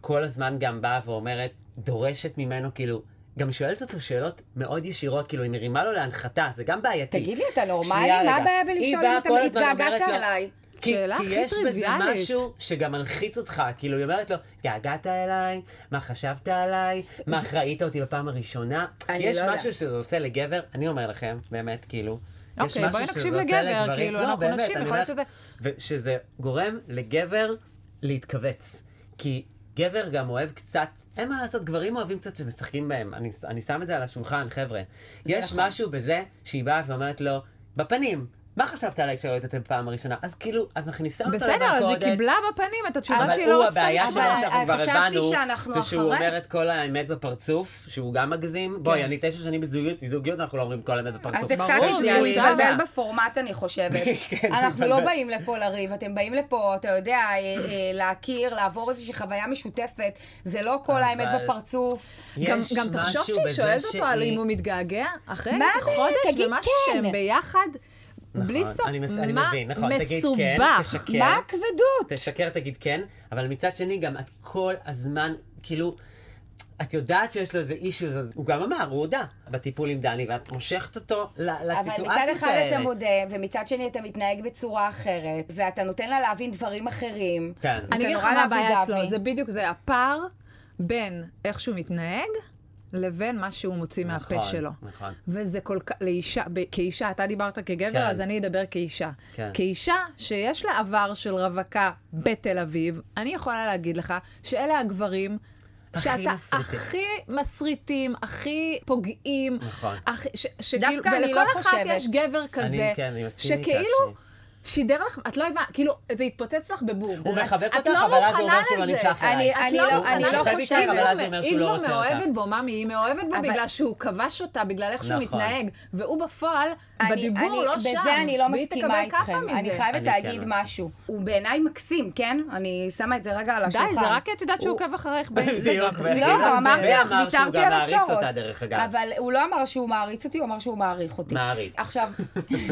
[SPEAKER 4] כל הזמן גם באה ואומרת, דורשת ממנו, כאילו, גם שואלת אותו שאלות מאוד ישירות, כאילו, היא מרימה לו להנחתה, זה גם בעייתי.
[SPEAKER 5] תגיד לי, אתה
[SPEAKER 4] שנייה,
[SPEAKER 5] נורמלי?
[SPEAKER 4] רגע.
[SPEAKER 5] מה הבעיה
[SPEAKER 4] היא
[SPEAKER 5] בלשאול
[SPEAKER 4] באה
[SPEAKER 5] אם אתה
[SPEAKER 4] כל הזמן
[SPEAKER 5] התגעגעת
[SPEAKER 4] אומרת לו-
[SPEAKER 5] אליי?
[SPEAKER 4] כי,
[SPEAKER 1] שאלה
[SPEAKER 4] כי
[SPEAKER 1] הכי
[SPEAKER 4] יש בזה
[SPEAKER 1] טריוויאלית.
[SPEAKER 4] משהו שגם מלחיץ אותך, כאילו היא אומרת לו, התגעגעת אליי, מה חשבת עליי, מה ראית אותי בפעם הראשונה.
[SPEAKER 5] אני
[SPEAKER 4] יש
[SPEAKER 5] לא יודעת.
[SPEAKER 4] משהו שזה עושה לגבר, אני אומר לכם, באמת, כאילו. יש
[SPEAKER 1] אוקיי,
[SPEAKER 4] משהו
[SPEAKER 1] בואי
[SPEAKER 4] שזה
[SPEAKER 1] נקשיב
[SPEAKER 4] עושה
[SPEAKER 1] לגבר,
[SPEAKER 4] לגברים-
[SPEAKER 1] כאילו,
[SPEAKER 4] לא,
[SPEAKER 1] אנחנו
[SPEAKER 4] באמת,
[SPEAKER 1] נשים,
[SPEAKER 4] אני
[SPEAKER 1] יכול להיות
[SPEAKER 4] אומר לך, ושזה גורם לגבר להתכווץ. כי גבר גם אוהב קצת, אין מה לעשות, גברים אוהבים קצת שמשחקים בהם. אני, אני שם את זה על השולחן, חבר'ה. יש
[SPEAKER 5] נכון.
[SPEAKER 4] משהו בזה שהיא באה ואומרת לו, בפנים, מה חשבת עליי כשראית אותם פעם הראשונה? אז כאילו, את מכניסה אותו
[SPEAKER 1] בסדר, אז היא
[SPEAKER 4] למלכודת,
[SPEAKER 1] קיבלה בפנים את התשובה
[SPEAKER 4] אבל
[SPEAKER 1] שהיא
[SPEAKER 4] הוא,
[SPEAKER 1] לא רצתה
[SPEAKER 4] הבעיה שלו
[SPEAKER 1] לשמוע.
[SPEAKER 5] אבל
[SPEAKER 4] שאנחנו כבר
[SPEAKER 5] חשבתי
[SPEAKER 4] הבנו,
[SPEAKER 5] שאנחנו
[SPEAKER 4] זה שהוא
[SPEAKER 5] אחרי.
[SPEAKER 4] אומר את כל האמת בפרצוף, שהוא גם
[SPEAKER 1] כן.
[SPEAKER 4] מגזים. בואי, אני תשע שנים בזוגיות, בזוגיות אנחנו לא אומרים כל האמת בפרצוף.
[SPEAKER 5] אז זה קצת
[SPEAKER 4] ברור,
[SPEAKER 5] התבלבל-
[SPEAKER 4] אוקיי, שנייה, אני
[SPEAKER 5] התבלבל
[SPEAKER 4] איתך.
[SPEAKER 5] בפורמט, אני חושבת.
[SPEAKER 4] כן,
[SPEAKER 5] אנחנו לא
[SPEAKER 4] התבלבל.
[SPEAKER 5] באים לפה לריב, אתם באים לפה, אתה יודע, אה, אה, להכיר, לעבור איזושהי חוויה משותפת, זה לא כל האמת
[SPEAKER 4] אבל-
[SPEAKER 5] בפרצוף.
[SPEAKER 1] גם,
[SPEAKER 4] יש
[SPEAKER 1] גם תחשוב
[SPEAKER 4] משהו
[SPEAKER 1] שהיא
[SPEAKER 4] בזה
[SPEAKER 1] שואלת אותו על
[SPEAKER 4] שהיא-
[SPEAKER 1] אם הוא מתגעגע, אחרי
[SPEAKER 5] מה זה?
[SPEAKER 1] חודש
[SPEAKER 5] תגיד
[SPEAKER 1] ומשהו
[SPEAKER 5] כן.
[SPEAKER 1] שהם ביחד, בלי
[SPEAKER 4] נכון,
[SPEAKER 1] סוף,
[SPEAKER 4] אני מס- אני
[SPEAKER 1] מה
[SPEAKER 4] מבין, נכון, תגיד כן,
[SPEAKER 1] מסובך.
[SPEAKER 4] תשקר.
[SPEAKER 5] מה הכבדות?
[SPEAKER 4] תשקר, תגיד כן, אבל מצד שני, גם את כל הזמן, כאילו, את יודעת שיש לו איזה אישו, הוא גם אמר, הוא הודה בטיפול עם דני, ואת מושכת אותו ל-
[SPEAKER 5] אבל
[SPEAKER 4] לסיטואציות האלה.
[SPEAKER 5] מצד אחד אתה מודה, ומצד שני אתה מתנהג בצורה אחרת, ואתה נותן לה להבין דברים אחרים.
[SPEAKER 4] כן.
[SPEAKER 5] אתה
[SPEAKER 1] אני אגיד לך
[SPEAKER 5] נורא
[SPEAKER 1] מה הבעיה
[SPEAKER 5] לאבי-דאבי.
[SPEAKER 1] אצלו, זה בדיוק זה הפער בין איך שהוא מתנהג לבין מה שהוא מוציא מהפה
[SPEAKER 4] נכון,
[SPEAKER 1] שלו.
[SPEAKER 4] נכון.
[SPEAKER 1] וזה כל כך, לאישה, ב- כאישה, אתה דיברת כגבר,
[SPEAKER 4] כן.
[SPEAKER 1] אז אני אדבר כאישה.
[SPEAKER 4] כן.
[SPEAKER 1] כאישה שיש לה עבר של רווקה בתל אביב, אני יכולה להגיד לך שאלה הגברים...
[SPEAKER 4] הכי
[SPEAKER 1] שאתה
[SPEAKER 4] מסריטים.
[SPEAKER 1] הכי מסריטים, הכי פוגעים,
[SPEAKER 4] נכון.
[SPEAKER 1] הכי- ש- שכאילו,
[SPEAKER 5] דווקא אני
[SPEAKER 1] ולכל
[SPEAKER 5] לא
[SPEAKER 1] אחת
[SPEAKER 5] חושבת.
[SPEAKER 1] יש גבר כזה,
[SPEAKER 4] כן, אני מסכים איתך
[SPEAKER 1] שכאילו
[SPEAKER 4] שהיא-
[SPEAKER 1] שידר לך, את לא הבנת, כאילו, זה התפוצץ לך בבום.
[SPEAKER 4] הוא מחבק
[SPEAKER 1] את
[SPEAKER 4] אותך,
[SPEAKER 1] לא
[SPEAKER 4] אבל אז הוא
[SPEAKER 1] מוכנה
[SPEAKER 4] אומר שהוא לא
[SPEAKER 1] לזה.
[SPEAKER 4] נמשך
[SPEAKER 5] אני-
[SPEAKER 4] אליי.
[SPEAKER 5] אני
[SPEAKER 1] את לא
[SPEAKER 5] לא-
[SPEAKER 1] מוכנה
[SPEAKER 5] אני לא
[SPEAKER 1] לזה.
[SPEAKER 5] חושבת-
[SPEAKER 1] היא
[SPEAKER 4] אבל אז
[SPEAKER 1] כבר-
[SPEAKER 4] הוא אומר
[SPEAKER 1] היא
[SPEAKER 4] שהוא לא
[SPEAKER 1] כבר
[SPEAKER 4] רוצה
[SPEAKER 1] מאוהבת
[SPEAKER 4] אותך.
[SPEAKER 1] בו, ממי, היא מאוהבת בו
[SPEAKER 5] אבל-
[SPEAKER 1] בגלל שהוא כבש אותה, בגלל איך שהוא
[SPEAKER 4] נכון.
[SPEAKER 1] מתנהג, והוא בפועל,
[SPEAKER 5] אני-
[SPEAKER 1] בדיבור
[SPEAKER 5] אני-
[SPEAKER 1] לא שם.
[SPEAKER 5] בזה אני לא
[SPEAKER 1] והיא
[SPEAKER 5] מסכימה
[SPEAKER 1] תקבל כאפה
[SPEAKER 5] איתכם. אני
[SPEAKER 1] מזה.
[SPEAKER 5] חייבת
[SPEAKER 4] אני
[SPEAKER 5] להגיד
[SPEAKER 4] כן
[SPEAKER 5] משהו. הוא בעיניי מקסים, כן? אני שמה את זה רגע על השולחן.
[SPEAKER 1] די, זה רק כי את יודעת שהוא
[SPEAKER 5] הוא-
[SPEAKER 1] עוקב אחרייך באינסטגרם.
[SPEAKER 4] בדיוק, ו-
[SPEAKER 5] לא, אמרתי לך,
[SPEAKER 4] ואמר שהוא
[SPEAKER 5] ויתרתי
[SPEAKER 4] גם
[SPEAKER 5] על
[SPEAKER 4] מעריץ
[SPEAKER 5] הצ'ורוס.
[SPEAKER 4] אותה, דרך אגב.
[SPEAKER 5] אבל הוא לא אמר שהוא מעריץ אותי, הוא אמר שהוא מעריך אותי.
[SPEAKER 4] מעריץ.
[SPEAKER 5] עכשיו,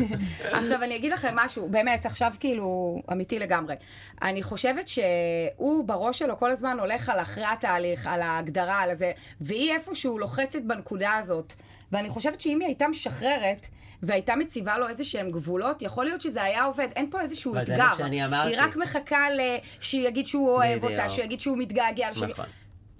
[SPEAKER 5] עכשיו אני אגיד לכם משהו, באמת, עכשיו כאילו, אמיתי לגמרי. אני חושבת שהוא בראש שלו כל הזמן הולך על אחרי התהליך, על ההגדרה, על הזה, והיא איפשהו לוחצת בנקודה הזאת. ואני חושבת שאם היא הייתה משחררת... והייתה מציבה לו איזה שהם גבולות, יכול להיות שזה היה עובד, אין פה איזשהו
[SPEAKER 4] אבל זה
[SPEAKER 5] אתגר.
[SPEAKER 4] מה שאני אמרתי.
[SPEAKER 5] היא רק מחכה ל... שיגיד שהוא אוהב
[SPEAKER 4] בדיוק.
[SPEAKER 5] אותה, שיגיד שהוא מתגעגע, שיגיד-
[SPEAKER 4] נכון.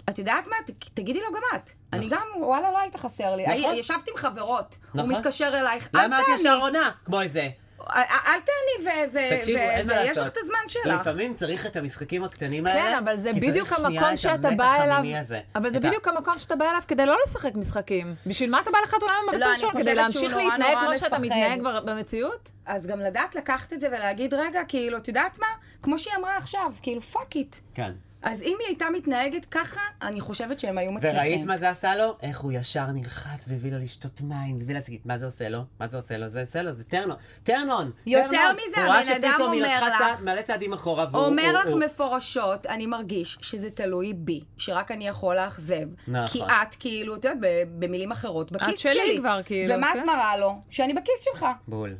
[SPEAKER 5] את יודעת מה? ת- תגידי לו גם את. אני גם, וואלה, לא היית חסר לי.
[SPEAKER 4] נכון.
[SPEAKER 5] הי- ישבת עם חברות, הוא
[SPEAKER 4] נכון.
[SPEAKER 5] מתקשר אלייך, אל
[SPEAKER 4] למה את ישר
[SPEAKER 5] תעני,
[SPEAKER 4] עונה? כמו איזה.
[SPEAKER 5] אל- אל תעני, ו- ו-
[SPEAKER 4] תקשיבו,
[SPEAKER 5] ו-
[SPEAKER 4] אין מה
[SPEAKER 5] ויש
[SPEAKER 4] לעשות.
[SPEAKER 5] לך את הזמן שלך.
[SPEAKER 4] לפעמים צריך את המשחקים הקטנים האלה.
[SPEAKER 1] כן, אבל זה
[SPEAKER 4] כי צריך
[SPEAKER 1] בדיוק
[SPEAKER 4] שנייה
[SPEAKER 1] המקום
[SPEAKER 4] את
[SPEAKER 1] שאתה
[SPEAKER 4] המתח
[SPEAKER 1] בא אליו.
[SPEAKER 4] המיני הזה.
[SPEAKER 1] אבל זה
[SPEAKER 4] את ה-
[SPEAKER 1] בדיוק המקום שאתה בא אליו כדי לא לשחק משחקים. בשביל מה אתה בא לחתונה במבט
[SPEAKER 5] לא, אני
[SPEAKER 1] ראשון?
[SPEAKER 5] חושבת
[SPEAKER 1] כדי להמשיך
[SPEAKER 5] שהוא נורא
[SPEAKER 1] להתנהג
[SPEAKER 5] נורא
[SPEAKER 1] כמו שאתה
[SPEAKER 5] מפחד.
[SPEAKER 1] מתנהג בר- במציאות?
[SPEAKER 5] אז גם לדעת לקחת את זה ולהגיד, רגע, כאילו, את יודעת מה? כמו שהיא אמרה עכשיו, כאילו, פאק איט.
[SPEAKER 4] כן.
[SPEAKER 5] אז אם היא הייתה מתנהגת ככה, אני חושבת שהם היו מצליחים.
[SPEAKER 4] וראית מה זה עשה לו? איך הוא ישר נלחץ והביא לו לשתות מים, והביא לה להגיד, מה זה עושה לו? מה זה עושה לו? זה עושה לו, זה טרנון. טרנון.
[SPEAKER 5] יותר
[SPEAKER 4] טרנון.
[SPEAKER 5] מזה,
[SPEAKER 4] הוא ראה
[SPEAKER 5] הבן אדם
[SPEAKER 4] שפתאום היא
[SPEAKER 5] אומר
[SPEAKER 4] לקחה
[SPEAKER 5] לך-
[SPEAKER 4] צעד- מלא צעדים אחורה, והוא...
[SPEAKER 5] אומר
[SPEAKER 4] הוא-
[SPEAKER 5] לך
[SPEAKER 4] הוא-
[SPEAKER 5] מפורשות, אני מרגיש שזה תלוי בי, שרק אני יכול לאכזב.
[SPEAKER 4] נכון.
[SPEAKER 5] כי את כאילו, את יודעת, ב- במילים אחרות, בכיס
[SPEAKER 1] שלי
[SPEAKER 5] שלי.
[SPEAKER 1] כבר, כאילו,
[SPEAKER 5] ומה
[SPEAKER 1] כן.
[SPEAKER 5] את מראה לו? שאני בכיס שלך.
[SPEAKER 4] בול.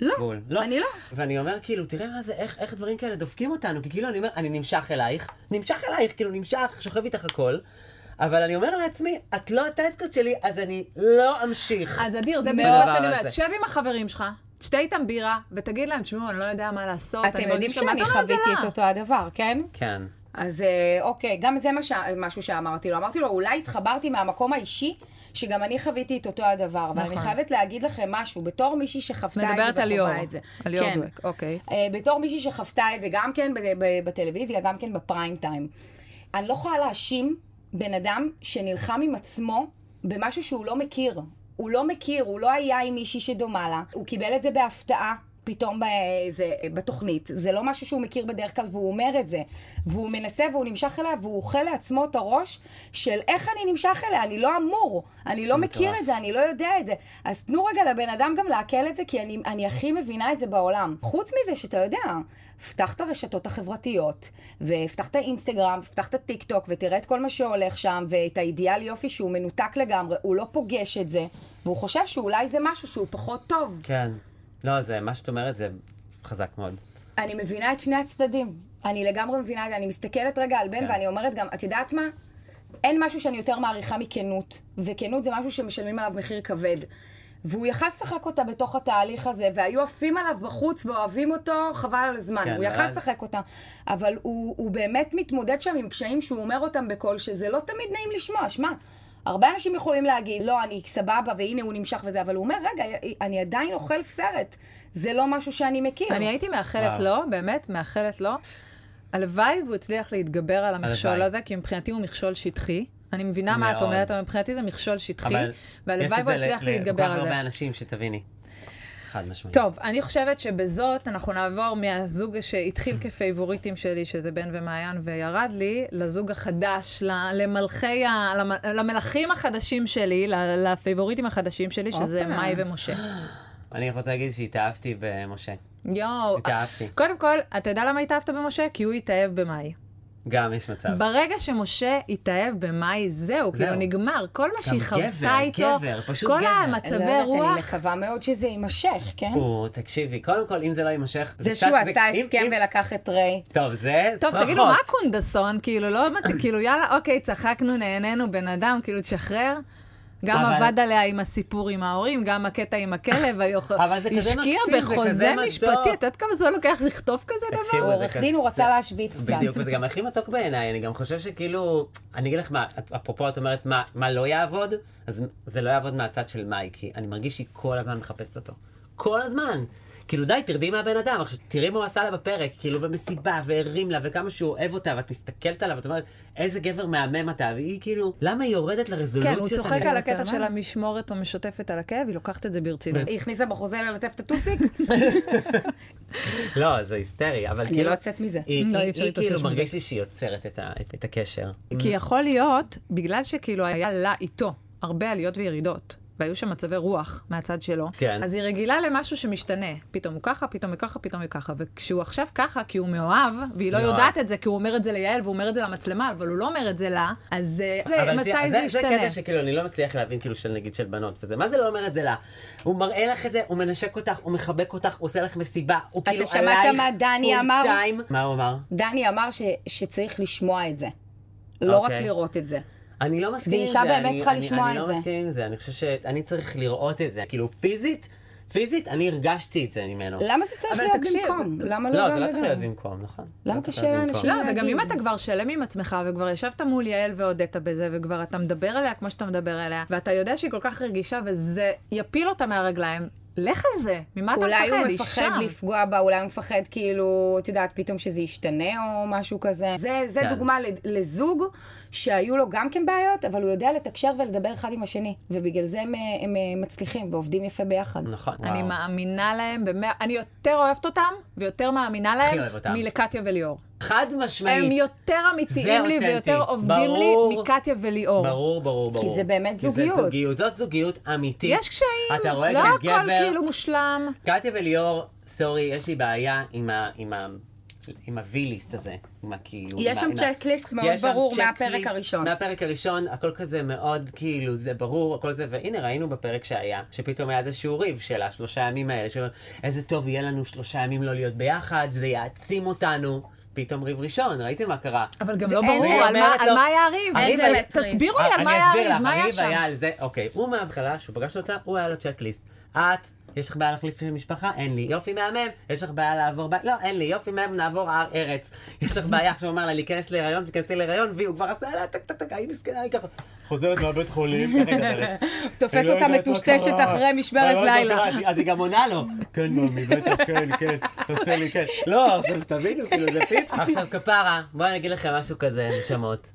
[SPEAKER 5] לא,
[SPEAKER 4] בול. לא.
[SPEAKER 5] אני לא.
[SPEAKER 4] ואני אומר, כאילו, תראה מה זה, איך, איך דברים כאלה דופקים אותנו, כי כאילו, אני אומר, אני נמשך אלייך, נמשך אלייך, כאילו, נמשך, שוכב איתך הכל, אבל אני אומר לעצמי, את לא הטייפקאסט שלי, אז אני לא אמשיך.
[SPEAKER 1] אז אדיר, זה
[SPEAKER 5] מאוד.
[SPEAKER 1] בדיוק מה שאני
[SPEAKER 4] הדבר
[SPEAKER 1] אומרת.
[SPEAKER 4] הזה.
[SPEAKER 1] שב עם החברים שלך, תשתה איתם בירה, ותגיד להם, תשמעו, אני לא יודע מה לעשות. אני
[SPEAKER 5] אתם
[SPEAKER 1] מרגיש
[SPEAKER 5] יודעים
[SPEAKER 1] טוב." מה
[SPEAKER 5] שאני
[SPEAKER 1] אתה אומר את זה
[SPEAKER 5] חוויתי
[SPEAKER 1] לה?
[SPEAKER 5] את אותו הדבר, כן?
[SPEAKER 4] כן.
[SPEAKER 5] אז אה, אוקיי, גם זה מה ש- משהו שאמרתי לו. אמרתי לו, אולי התחברתי מהמקום האישי, שגם אני חוויתי את אותו הדבר. אבל אני
[SPEAKER 1] נכון.
[SPEAKER 5] חייבת להגיד לכם משהו, בתור מישהי שחוותה את זה
[SPEAKER 1] מדברת על ליאור.
[SPEAKER 5] וחווה את זה.
[SPEAKER 1] על ליאור
[SPEAKER 5] כן.
[SPEAKER 1] דואק, אוקיי.
[SPEAKER 5] אה, בתור מישהי שחוותה את זה גם כן ב- ב- בטלוויזיה, גם כן בפריים טיים. אני לא יכולה להאשים בן אדם שנלחם עם עצמו במשהו שהוא לא מכיר. הוא לא מכיר, הוא לא היה עם מישהי שדומה לה, הוא קיבל את זה בהפתעה. פתאום באיזה, בתוכנית, זה לא משהו שהוא מכיר בדרך כלל והוא אומר את זה. והוא מנסה והוא נמשך אליה והוא אוכל לעצמו את הראש של איך אני נמשך אליה, אני לא אמור, אני לא
[SPEAKER 4] מטורף.
[SPEAKER 5] מכיר את זה, אני לא יודע את זה. אז תנו רגע לבן אדם גם לעכל את זה, כי אני, אני הכי מבינה את זה בעולם. חוץ מזה שאתה יודע, פתח את הרשתות החברתיות, ופתח את האינסטגרם, ופתח את הטיק טוק, ותראה את כל מה שהולך שם, ואת האידיאל יופי שהוא מנותק לגמרי, הוא לא פוגש את זה, והוא חושב שאולי זה משהו שהוא פחות טוב.
[SPEAKER 4] כן. לא, זה, מה שאת אומרת זה חזק מאוד.
[SPEAKER 5] אני מבינה את שני הצדדים. אני לגמרי מבינה את זה. אני מסתכלת רגע על בן,
[SPEAKER 4] כן.
[SPEAKER 5] ואני אומרת גם, את יודעת מה? אין משהו שאני יותר מעריכה מכנות, וכנות זה משהו שמשלמים עליו מחיר כבד. והוא יכל לשחק אותה בתוך התהליך הזה, והיו עפים עליו בחוץ ואוהבים אותו, חבל על הזמן.
[SPEAKER 4] כן,
[SPEAKER 5] הוא יכל
[SPEAKER 4] ואז-
[SPEAKER 5] לשחק אותה. אבל הוא, הוא באמת מתמודד שם עם קשיים שהוא אומר אותם בקול, שזה לא תמיד נעים לשמוע. שמע, הרבה אנשים יכולים להגיד, לא, אני סבבה, והנה הוא נמשך וזה, אבל הוא אומר, רגע, אני עדיין אוכל סרט. זה לא משהו שאני מכיר.
[SPEAKER 1] אני הייתי מאחלת
[SPEAKER 4] וואו.
[SPEAKER 1] לו, באמת, מאחלת לו. הלוואי והוא הצליח להתגבר על המכשול
[SPEAKER 4] הלוואי.
[SPEAKER 1] הזה, כי מבחינתי הוא מכשול שטחי. אני מבינה מה את
[SPEAKER 4] מאוד.
[SPEAKER 1] אומרת, אבל מבחינתי זה מכשול שטחי,
[SPEAKER 4] אבל יש
[SPEAKER 1] והלוואי
[SPEAKER 4] את
[SPEAKER 1] והוא
[SPEAKER 4] זה
[SPEAKER 1] יצליח
[SPEAKER 4] ל-
[SPEAKER 1] להתגבר
[SPEAKER 4] לכל
[SPEAKER 1] על
[SPEAKER 4] כך לא
[SPEAKER 1] זה.
[SPEAKER 4] הרבה אנשים, שתביני. חד משמעית.
[SPEAKER 1] טוב, אני חושבת שבזאת אנחנו נעבור מהזוג שהתחיל כפייבוריטים שלי, שזה בן ומעיין וירד לי, לזוג החדש, ל- למלכי, ה- למ- למלכים החדשים שלי, ל- לפייבוריטים החדשים שלי, שזה
[SPEAKER 5] הופה.
[SPEAKER 1] מאי ומשה.
[SPEAKER 4] אני רוצה להגיד שהתאהבתי במשה.
[SPEAKER 1] יואו.
[SPEAKER 4] התאהבתי.
[SPEAKER 1] קודם כל, אתה יודע למה התאהבת במשה? כי הוא התאהב במאי.
[SPEAKER 4] גם יש מצב.
[SPEAKER 1] ברגע שמשה התאהב במאי, זהו, כאילו נגמר. כל מה שהיא חוותה
[SPEAKER 4] גבר,
[SPEAKER 1] איתו,
[SPEAKER 4] גבר, פשוט
[SPEAKER 1] כל
[SPEAKER 4] גבר.
[SPEAKER 5] לא
[SPEAKER 1] המצבי
[SPEAKER 5] יודעת, אני
[SPEAKER 1] רוח,
[SPEAKER 5] מקווה מאוד שזה יימשך, כן?
[SPEAKER 4] הוא, תקשיבי, קודם כל, אם זה לא יימשך...
[SPEAKER 5] זה
[SPEAKER 4] קצת-
[SPEAKER 5] שהוא עשה
[SPEAKER 4] אם-
[SPEAKER 5] הסכם
[SPEAKER 4] אם-
[SPEAKER 5] ולקח את ריי.
[SPEAKER 4] טוב, זה צרחות.
[SPEAKER 1] טוב, תגידו, מה קונדסון? כאילו, לא מצ- כאילו, יאללה, אוקיי, צחקנו, נהנינו, בן אדם, כאילו, תשחרר. גם
[SPEAKER 4] אבל-
[SPEAKER 1] עבד עליה עם הסיפור עם ההורים, גם הקטע עם הכלב, היוכ-
[SPEAKER 4] אבל זה כזה
[SPEAKER 1] השקיע
[SPEAKER 4] מקסים, זה
[SPEAKER 1] בחוזה
[SPEAKER 4] כזה מתוק.
[SPEAKER 1] משפטי, את יודעת כמה זמן לוקח לכתוב כזה דבר?
[SPEAKER 4] תקשיבו, זה
[SPEAKER 5] לא, עורך דין,
[SPEAKER 4] כזה-
[SPEAKER 5] הוא רצה להשבית קצת.
[SPEAKER 4] בדיוק, וזה גם הכי מתוק בעיניי, אני גם חושב שכאילו, אני אגיד לך מה, את- אפרופו את אומרת מה, מה לא יעבוד, אז זה לא יעבוד מהצד של מאי, כי אני מרגיש שהיא כל הזמן מחפשת אותו. כל הזמן. כאילו די, תרדי מהבן אדם, עכשיו תראי מה הוא עשה לה בפרק, כאילו במסיבה, והרים לה, וכמה שהוא אוהב אותה, ואת מסתכלת עליו, ואת אומרת, איזה גבר מהמם אתה, והיא כאילו, למה היא יורדת לרזולוציות?
[SPEAKER 1] כן, הוא צוחק
[SPEAKER 4] הנמוכות?
[SPEAKER 1] על
[SPEAKER 5] יותר,
[SPEAKER 1] הקטע של
[SPEAKER 5] מה?
[SPEAKER 1] המשמורת המשותפת על הכאב, היא לוקחת את זה ברצינות.
[SPEAKER 5] היא הכניסה בחוזה ללטף את הטוסיק?
[SPEAKER 4] לא, זה היסטרי, אבל
[SPEAKER 5] אני
[SPEAKER 4] כאילו,
[SPEAKER 5] לא יוצאת מזה.
[SPEAKER 4] היא-
[SPEAKER 1] לא, אי
[SPEAKER 4] היא
[SPEAKER 1] אפשר
[SPEAKER 4] היא
[SPEAKER 1] להתאושש
[SPEAKER 4] כאילו
[SPEAKER 1] מזה.
[SPEAKER 4] מרגיש לי שהיא יוצרת את ה- את- את הקשר.
[SPEAKER 1] כי יכול להיות, בגלל שכאילו היה לה איתו הרבה עליות וירידות, והיו שם מצבי רוח מהצד שלו,
[SPEAKER 4] כן.
[SPEAKER 1] אז היא רגילה למשהו שמשתנה. פתאום הוא ככה, פתאום היא ככה, פתאום היא ככה. וכשהוא עכשיו ככה, כי הוא מאוהב, והיא לא
[SPEAKER 4] מאוהב.
[SPEAKER 1] יודעת את זה, כי הוא אומר את זה ליעל, והוא אומר את זה למצלמה, אבל הוא לא אומר את זה לה, אז אה, זה,
[SPEAKER 4] אבל
[SPEAKER 1] מתי
[SPEAKER 4] שנייה,
[SPEAKER 1] זה
[SPEAKER 4] זה
[SPEAKER 1] ישתנה?
[SPEAKER 4] קטע שכאילו אני לא מצליח להבין, כאילו, של נגיד של בנות וזה. מה זה לא אומר את זה לה? הוא מראה לך את זה, הוא מנשק אותך, הוא מחבק אותך, הוא עושה לך מסיבה, הוא
[SPEAKER 5] אתה
[SPEAKER 4] כאילו עלייך...
[SPEAKER 5] שמעת מה דני
[SPEAKER 4] full
[SPEAKER 5] אמר?
[SPEAKER 4] time. מה הוא אמר?
[SPEAKER 5] דני אמר ש- שצריך לשמוע את זה. לא רק
[SPEAKER 4] אוקיי.
[SPEAKER 5] לראות את זה.
[SPEAKER 4] אני לא מסכים עם זה.
[SPEAKER 5] ואישה באמת
[SPEAKER 4] אני-
[SPEAKER 5] צריכה
[SPEAKER 4] אני-
[SPEAKER 5] לשמוע את
[SPEAKER 4] אני
[SPEAKER 5] זה.
[SPEAKER 4] לא מסכים עם זה, אני חושב שאני צריך לראות את זה. כאילו, פיזית, פיזית, אני הרגשתי את זה ממנו.
[SPEAKER 5] למה זה צריך
[SPEAKER 1] אבל
[SPEAKER 5] להיות
[SPEAKER 1] תקשיב,
[SPEAKER 5] במקום? למה לא
[SPEAKER 4] לא,
[SPEAKER 5] גם
[SPEAKER 4] זה לא צריך להיות
[SPEAKER 5] וגם?
[SPEAKER 4] במקום, נכון?
[SPEAKER 5] למה
[SPEAKER 4] לא
[SPEAKER 5] אתה
[SPEAKER 4] צריך להיות
[SPEAKER 5] שאלה
[SPEAKER 4] במקום.
[SPEAKER 5] אנשים?
[SPEAKER 1] לא,
[SPEAKER 5] להגיד.
[SPEAKER 1] וגם אם אתה כבר שלם עם עצמך, וכבר ישבת מול יעל והודית בזה, וכבר אתה מדבר אליה כמו שאתה מדבר אליה, ואתה יודע שהיא כל כך רגישה, וזה יפיל אותה מהרגליים, לך על זה, ממה אתה מפחד?
[SPEAKER 5] אולי הוא מפחד
[SPEAKER 1] אישה.
[SPEAKER 5] לפגוע בה, אולי הוא מפחד כאילו, את יודעת, פתאום שזה ישתנה או משהו כזה. זה, זה
[SPEAKER 4] כן.
[SPEAKER 5] דוגמה לד- לזוג שהיו לו גם כן בעיות, אבל הוא יודע לתקשר ולדבר אחד עם השני. ובגלל זה הם, אה, הם אה, מצליחים ועובדים יפה ביחד.
[SPEAKER 4] נכון,
[SPEAKER 1] אני
[SPEAKER 4] וואו.
[SPEAKER 1] מאמינה להם במאה... אני יותר אוהבת אותם ויותר מאמינה להם
[SPEAKER 4] אוהב אותם.
[SPEAKER 1] מלקטיה וליאור.
[SPEAKER 4] חד
[SPEAKER 1] הם
[SPEAKER 4] משמעית.
[SPEAKER 1] יותר אמיתיים לי
[SPEAKER 4] אותנטי.
[SPEAKER 1] ויותר עובדים לי
[SPEAKER 4] ברור.
[SPEAKER 1] מקטיה וליאור.
[SPEAKER 4] ברור, ברור, ברור.
[SPEAKER 5] זה באמת
[SPEAKER 4] כי
[SPEAKER 5] זוגיות.
[SPEAKER 4] זה זוגיות, זאת זוגיות אמיתית.
[SPEAKER 1] יש קשיים,
[SPEAKER 4] אתה רואה
[SPEAKER 1] לא
[SPEAKER 4] שגבר-
[SPEAKER 1] הכל כאילו מושלם.
[SPEAKER 4] קטיה וליאור, סורי, יש לי בעיה עם ה... עם ה... עם הוויליסט הזה, עם הכאילו...
[SPEAKER 5] יש
[SPEAKER 4] עם ה-
[SPEAKER 5] שם
[SPEAKER 4] עם ה-
[SPEAKER 5] צ'קליסט מאוד
[SPEAKER 4] יש שם
[SPEAKER 5] ברור מהפרק
[SPEAKER 4] צ'קליסט
[SPEAKER 5] הראשון.
[SPEAKER 4] מהפרק הראשון, הכל כזה מאוד כאילו, זה ברור, הכל זה, והנה ראינו בפרק שהיה, שפתאום היה איזשהו ריב של השלושה ימים האלה, שאומר, איזה טוב יהיה לנו שלושה ימים לא להיות ביחד, זה יעצים אותנו. פתאום ריב ראשון, ראיתם מה קרה?
[SPEAKER 1] אבל גם
[SPEAKER 5] זה-
[SPEAKER 1] לא
[SPEAKER 5] אין-
[SPEAKER 1] ברור
[SPEAKER 5] היא
[SPEAKER 1] על מה-
[SPEAKER 4] אומרת
[SPEAKER 1] על
[SPEAKER 4] לו-
[SPEAKER 1] מה היה הריב.
[SPEAKER 4] הריב
[SPEAKER 1] אז
[SPEAKER 5] היה-
[SPEAKER 1] תסבירו לי על מה היה הריב, מה היה
[SPEAKER 4] אני אה, אסביר לך, הריב היה
[SPEAKER 1] שם?
[SPEAKER 4] על זה, אוקיי, הוא מההתחלה, כשהוא פגש אותה, הוא היה לו צ'קליסט. את, יש לך בעיה להחליף משפחה? אין לי. יופי מהמם, יש לך בעיה לעבור בית? לא, אין לי. יופי מהמם, נעבור הר ארץ. יש לך בעיה, עכשיו הוא אמר לה, להיכנס להיריון, תיכנסי להיריון, והיא, הוא כבר עשה לה, טק טק טק, היא מסכנה, היא ככה. חוזרת מהבית חולים, ככה מדברת.
[SPEAKER 5] תופס
[SPEAKER 4] היא לא
[SPEAKER 5] אותה
[SPEAKER 4] יודעת מה
[SPEAKER 5] מטושטשת
[SPEAKER 4] קרה.
[SPEAKER 5] אחרי משמרת
[SPEAKER 4] אבל לא
[SPEAKER 5] לילה.
[SPEAKER 4] יודעת, אז היא גם עונה לו, כן, מאמי, בטח, כן, כן, תעשה לי, כן. לא, עכשיו שתבינו, כאילו, זה פיפ. עכשיו, כפרה, בואי אני אגיד לכם משהו כזה, נשמות.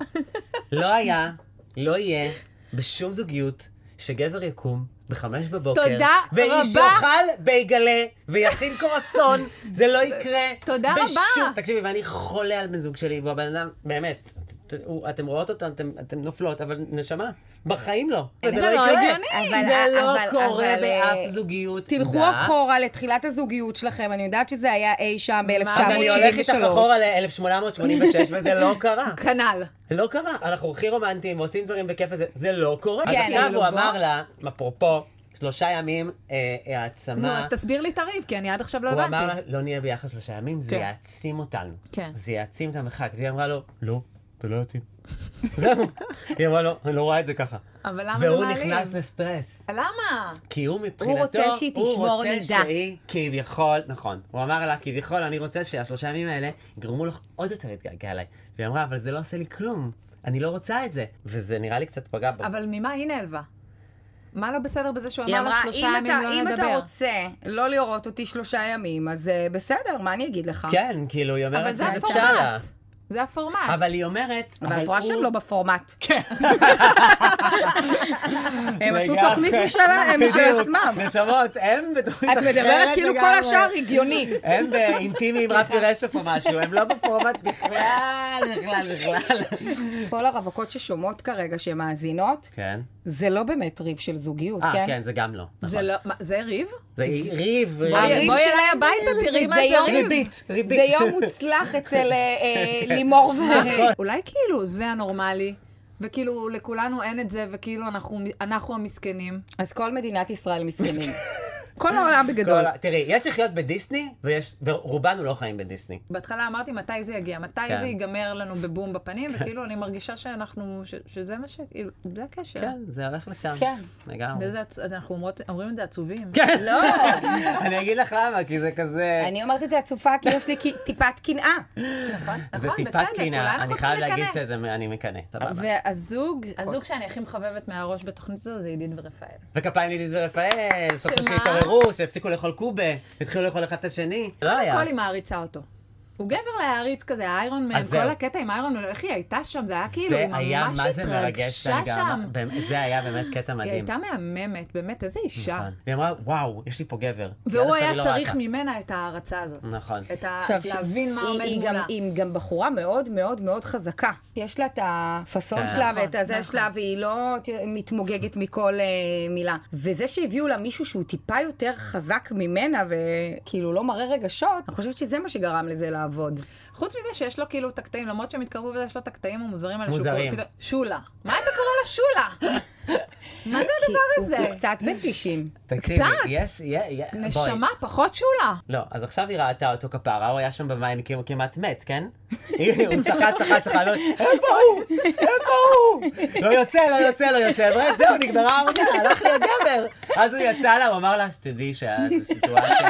[SPEAKER 4] לא היה, לא יהיה, בשום זוגיות, שגבר יקום בחמש בבוקר.
[SPEAKER 1] תודה
[SPEAKER 4] ואיש
[SPEAKER 1] רבה.
[SPEAKER 4] יאכל בייגלה, ויכין קרואסון, זה לא יקרה.
[SPEAKER 1] תודה רבה.
[SPEAKER 4] בשום- תקשיבי, ואני חולה על בן זוג שלי, והבן אדם, באמת, את- הוא- אתם רואות אותו, אתם- אתם נופלות, אבל נשמה, בחיים לא.
[SPEAKER 1] זה
[SPEAKER 4] זה
[SPEAKER 1] לא
[SPEAKER 4] לא יקרה.
[SPEAKER 1] הגיוני.
[SPEAKER 5] אבל-
[SPEAKER 4] זה לא
[SPEAKER 5] אבל-
[SPEAKER 4] קורה
[SPEAKER 5] אבל, אה,
[SPEAKER 4] באף זוגיות.
[SPEAKER 5] תלכו
[SPEAKER 4] דה.
[SPEAKER 5] אחורה לתחילת הזוגיות שלכם, אני יודעת שזה היה אי שם
[SPEAKER 4] אז אני הולך איתך
[SPEAKER 5] ב-1973.
[SPEAKER 4] אחורה ל-1886, וזה לא קרה.
[SPEAKER 1] כנ"ל.
[SPEAKER 4] לא קרה. אנחנו הכי רומנטיים, עושים דברים בכיף, וזה זה לא קורה. אז
[SPEAKER 5] כן.
[SPEAKER 4] עכשיו
[SPEAKER 1] כאילו,
[SPEAKER 4] הוא
[SPEAKER 1] בוא.
[SPEAKER 4] אמר לה, אפרופו, שלושה ימים אה,
[SPEAKER 1] נו,
[SPEAKER 4] העצמה.
[SPEAKER 1] אז תסביר לי את הריב, כי אני עד עכשיו לא
[SPEAKER 4] הוא אמר לה,
[SPEAKER 1] הבנתי.
[SPEAKER 4] לא נהיה ביחד שלושה ימים, זה
[SPEAKER 1] כן.
[SPEAKER 4] יעצים אותנו.
[SPEAKER 1] כן.
[SPEAKER 4] זה יעצים את המרחק. והיא אמרה לו, לא, אתה לא יוצאים. זהו. היא אמרה לו, אני לא רואה את זה ככה.
[SPEAKER 1] אבל למה לא זה
[SPEAKER 4] והוא
[SPEAKER 1] מעליב?
[SPEAKER 4] נכנס לסטרס.
[SPEAKER 1] למה?
[SPEAKER 4] כי הוא מבחינתו,
[SPEAKER 5] רוצה שהיא תשמור
[SPEAKER 4] הוא רוצה
[SPEAKER 5] נידה.
[SPEAKER 4] שהיא כביכול, נכון, הוא אמר לה, כביכול, אני רוצה שהשלושה ימים האלה יגרמו לך עוד יותר להתגעגע אליי. והיא אמרה, אבל זה לא עושה לי כלום, אני לא רוצה את זה. וזה נראה לי קצת פגע בו.
[SPEAKER 1] אבל ממה היא נעלבה? מה לא בסדר בזה שהוא
[SPEAKER 5] היא
[SPEAKER 1] אמר לה
[SPEAKER 5] אמרה,
[SPEAKER 1] שלושה
[SPEAKER 5] אם
[SPEAKER 1] ימים
[SPEAKER 5] אתה,
[SPEAKER 1] לא
[SPEAKER 5] אם אתה
[SPEAKER 1] נדבר?
[SPEAKER 5] רוצה לא לראות אותי שלושה ימים, אז אה, בסדר, מה אני אגיד לך?
[SPEAKER 4] כן, כאילו, היא
[SPEAKER 1] אבל
[SPEAKER 4] אומרת
[SPEAKER 1] זה
[SPEAKER 4] שזה קשה לה.
[SPEAKER 1] הפורמט. זה הפורמט.
[SPEAKER 4] אבל היא אומרת,
[SPEAKER 5] אבל את רואה
[SPEAKER 4] הוא-
[SPEAKER 5] שהם לא בפורמט. כן. הם עשו
[SPEAKER 4] לגמרי.
[SPEAKER 5] תוכנית משלהם, משל
[SPEAKER 4] בדיוק.
[SPEAKER 5] עצמם.
[SPEAKER 4] נשמות, הם בתוכנית
[SPEAKER 5] את מדברת
[SPEAKER 4] אחרת
[SPEAKER 5] כאילו כל
[SPEAKER 4] לגמרי.
[SPEAKER 5] השאר הגיוני.
[SPEAKER 4] הם באינטימי עם רפי רשף או משהו, הם לא בפורמט בכלל, בכלל, בכלל.
[SPEAKER 5] כל הרווקות ששומעות כרגע, שמאזינות,
[SPEAKER 4] כן.
[SPEAKER 5] זה לא באמת ריב של זוגיות,
[SPEAKER 4] אה,
[SPEAKER 5] כן?
[SPEAKER 4] כן, זה גם לא. נכון.
[SPEAKER 1] זה לא... מה, זה ריב?
[SPEAKER 4] זה ריב,
[SPEAKER 5] הריב
[SPEAKER 4] ריב.
[SPEAKER 1] בואי
[SPEAKER 5] שלהם
[SPEAKER 1] אליי
[SPEAKER 5] זה
[SPEAKER 1] הביתה,
[SPEAKER 5] ריב,
[SPEAKER 1] תראי מה זה
[SPEAKER 5] יום-
[SPEAKER 1] ריב.
[SPEAKER 4] ריבית, ריבית.
[SPEAKER 5] זה יום מוצלח אצל אה, אה, לימור ו...
[SPEAKER 4] נכון.
[SPEAKER 1] אולי כאילו זה הנורמלי, וכאילו לכולנו אין את זה, וכאילו אנחנו, אנחנו המסכנים.
[SPEAKER 5] אז כל מדינת ישראל מסכנים. כל העולם בגדול.
[SPEAKER 4] כל ה- תראי, יש לחיות בדיסני, ויש- ורובנו לא חיים בדיסני.
[SPEAKER 1] בהתחלה אמרתי מתי זה יגיע, מתי
[SPEAKER 4] כן.
[SPEAKER 1] זה ייגמר לנו בבום בפנים, וכאילו אני מרגישה שאנחנו, ש, שזה מה ש... כאילו, זה הקשר.
[SPEAKER 4] כן, זה הולך לשם.
[SPEAKER 5] כן.
[SPEAKER 4] לגמרי.
[SPEAKER 1] וזה, עצ- אנחנו אומרות, אומרים את זה עצובים.
[SPEAKER 4] כן.
[SPEAKER 5] לא,
[SPEAKER 4] אני אגיד לך למה, כי זה כזה...
[SPEAKER 5] אני אומרת את זה עצובה כי יש לי כי- טיפת קנאה.
[SPEAKER 4] זה
[SPEAKER 1] נכון,
[SPEAKER 4] טיפת
[SPEAKER 1] בצדק, אולי
[SPEAKER 4] קינה,
[SPEAKER 1] אנחנו
[SPEAKER 4] אני חייב
[SPEAKER 1] צריכים
[SPEAKER 4] להגיד
[SPEAKER 1] לקנא.
[SPEAKER 4] שזה, אני מקנא, סבבה.
[SPEAKER 1] והזוג, הזוג שאני הכי מחבבת מהראש בתוכנית הזו זה עידית ורפאל.
[SPEAKER 4] וכפיים לידית ורפאל, סוף סוף
[SPEAKER 1] שמה?
[SPEAKER 4] שהתעוררו, שהפסיקו לאכול קובה, התחילו לאכול אחד את השני. לא היה.
[SPEAKER 1] הכל היא מעריצה אותו. הוא גבר להעריץ כזה, האיירון מן,
[SPEAKER 4] אז זהו.
[SPEAKER 1] כל הקטע עם האיירון מן, איך היא הייתה שם, זה היה כאילו,
[SPEAKER 4] זה
[SPEAKER 1] היא
[SPEAKER 4] היה,
[SPEAKER 1] ממש
[SPEAKER 4] מה זה מרגש,
[SPEAKER 1] התרגשה
[SPEAKER 4] שאני גם-
[SPEAKER 1] שם.
[SPEAKER 4] באמת, זה היה באמת קטע
[SPEAKER 1] היא
[SPEAKER 4] מדהים.
[SPEAKER 1] הייתה מהממת, באמת, איזה אישה.
[SPEAKER 4] נכון. והיא אמרה, וואו, יש לי פה גבר. כי עד
[SPEAKER 1] והוא
[SPEAKER 4] עכשיו
[SPEAKER 1] היה
[SPEAKER 4] היא לא
[SPEAKER 1] צריך
[SPEAKER 4] ראתה."
[SPEAKER 1] ממנה את ההערצה הזאת.
[SPEAKER 4] נכון.
[SPEAKER 1] את ה...
[SPEAKER 5] עכשיו,
[SPEAKER 1] להבין מה
[SPEAKER 5] היא-
[SPEAKER 1] עומד
[SPEAKER 5] היא גם-
[SPEAKER 1] מולה.
[SPEAKER 5] היא גם בחורה מאוד מאוד מאוד חזקה. יש לה את הפאסון
[SPEAKER 4] כן.
[SPEAKER 5] שלה
[SPEAKER 1] נכון,
[SPEAKER 5] ואת הזה
[SPEAKER 1] נכון.
[SPEAKER 5] שלה, והיא לא ת- מתמוגגת מכל אה, מילה. וזה שהביאו לה מישהו שהוא טיפה יותר חזק ממנה, וכאילו לא מראה רגשות, אני חושבת שזה מה שגרם לזה לעבוד.
[SPEAKER 1] חוץ מזה שיש לו כאילו את הקטעים, למרות שהם התקרבו וזה, יש לו את הקטעים המוזרים האלה. שהוא
[SPEAKER 4] מוזרים.
[SPEAKER 1] קורא פתאום- שולה. מה אתה קורא לה שולה? מה זה
[SPEAKER 5] כי
[SPEAKER 1] הדבר
[SPEAKER 5] הוא-
[SPEAKER 1] הזה?
[SPEAKER 5] הוא קצת בן 90.
[SPEAKER 4] תקשיבי,
[SPEAKER 1] קצת.
[SPEAKER 4] יש, יה- יה- בואי.
[SPEAKER 1] נשמה, פחות שולה.
[SPEAKER 4] לא, אז עכשיו היא ראתה אותו כפרה, הוא היה שם במים כאילו כמעט מת, כן? הוא שחה, שחה, שחה, אומר, איפה הוא? איפה הוא? לא יוצא, לא יוצא, לא יוצא. אמרה, זהו, נגמרה העונה, הלך לי הגבר. אז הוא יצא לה, הוא אמר לה, שתדעי שזו סיטואציה.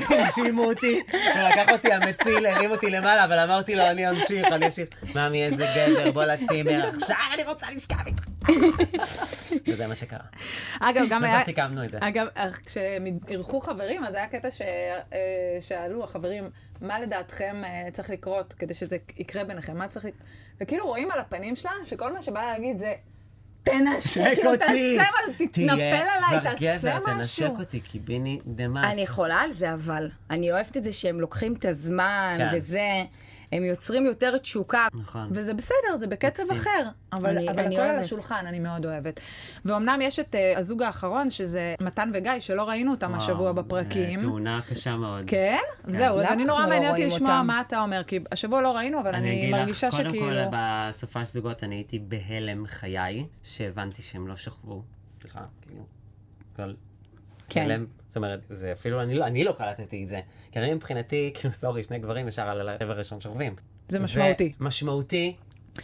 [SPEAKER 4] שהאשימו אותי, ולקח אותי המציל, הרים אותי למעלה, אבל אמרתי לו, אני אמשיך, אני אמשיך. מאמי, איזה גבר, בוא לצימר, עכשיו אני רוצה לשכב איתך. וזה מה שקרה.
[SPEAKER 1] אגב, גם היה...
[SPEAKER 4] וכבר סיכמנו את זה.
[SPEAKER 1] אגב, אך כשהם אירחו חברים, אז היה קטע ש... אה, שאלו החברים, מה לדעתכם אה, צריך לקרות כדי שזה יקרה ביניכם? מה צריך... לק- וכאילו רואים על הפנים שלה, שכל מה שבא להגיד זה, תנשק
[SPEAKER 4] תנשק
[SPEAKER 1] כאילו,
[SPEAKER 4] אותי!
[SPEAKER 1] תעשה משהו, תתנפל עליי,
[SPEAKER 4] כבר גבר,
[SPEAKER 1] תעשה משהו.
[SPEAKER 4] תנשק אותי, קיביני דמאי.
[SPEAKER 5] אני חולה על זה אבל. אני אוהבת את זה שהם לוקחים את הזמן
[SPEAKER 4] כן.
[SPEAKER 5] וזה, הם יוצרים יותר תשוקה.
[SPEAKER 4] נכון.
[SPEAKER 1] וזה בסדר, זה בקצב
[SPEAKER 4] מקסים.
[SPEAKER 1] אחר, אבל,
[SPEAKER 5] אני-
[SPEAKER 1] אבל
[SPEAKER 5] אני
[SPEAKER 1] הכל על
[SPEAKER 5] אוהבת.
[SPEAKER 1] השולחן, אני מאוד אוהבת. ואומנם יש את uh, הזוג האחרון, שזה מתן וגיא, שלא ראינו אותם
[SPEAKER 4] וואו,
[SPEAKER 1] השבוע
[SPEAKER 4] אה,
[SPEAKER 1] בפרקים.
[SPEAKER 4] תאונה קשה מאוד.
[SPEAKER 1] כן? זהו, אז
[SPEAKER 5] למה
[SPEAKER 1] אני
[SPEAKER 5] אנחנו
[SPEAKER 1] נורא
[SPEAKER 5] לא
[SPEAKER 1] מעניין אותי
[SPEAKER 5] רואים
[SPEAKER 1] לשמוע
[SPEAKER 5] אותם?
[SPEAKER 1] מה אתה אומר, כי השבוע לא ראינו, אבל אני
[SPEAKER 4] אגיד לך,
[SPEAKER 1] מרגישה
[SPEAKER 4] קודם
[SPEAKER 1] שכאילו...
[SPEAKER 4] כל, בסופה של זוגות אני הייתי בהלם חיי, שהבנתי שהם לא שכבו. סליחה, כאילו. אבל...
[SPEAKER 5] כן.
[SPEAKER 4] בהלם, זאת אומרת, זה אפילו, אני לא- אני לא קלטתי את זה. כי אני מבחינתי, כאילו, סורי, שני גברים ישר על הרבע הראשון שוכבים.
[SPEAKER 1] זה משמעותי.
[SPEAKER 4] משמעותי.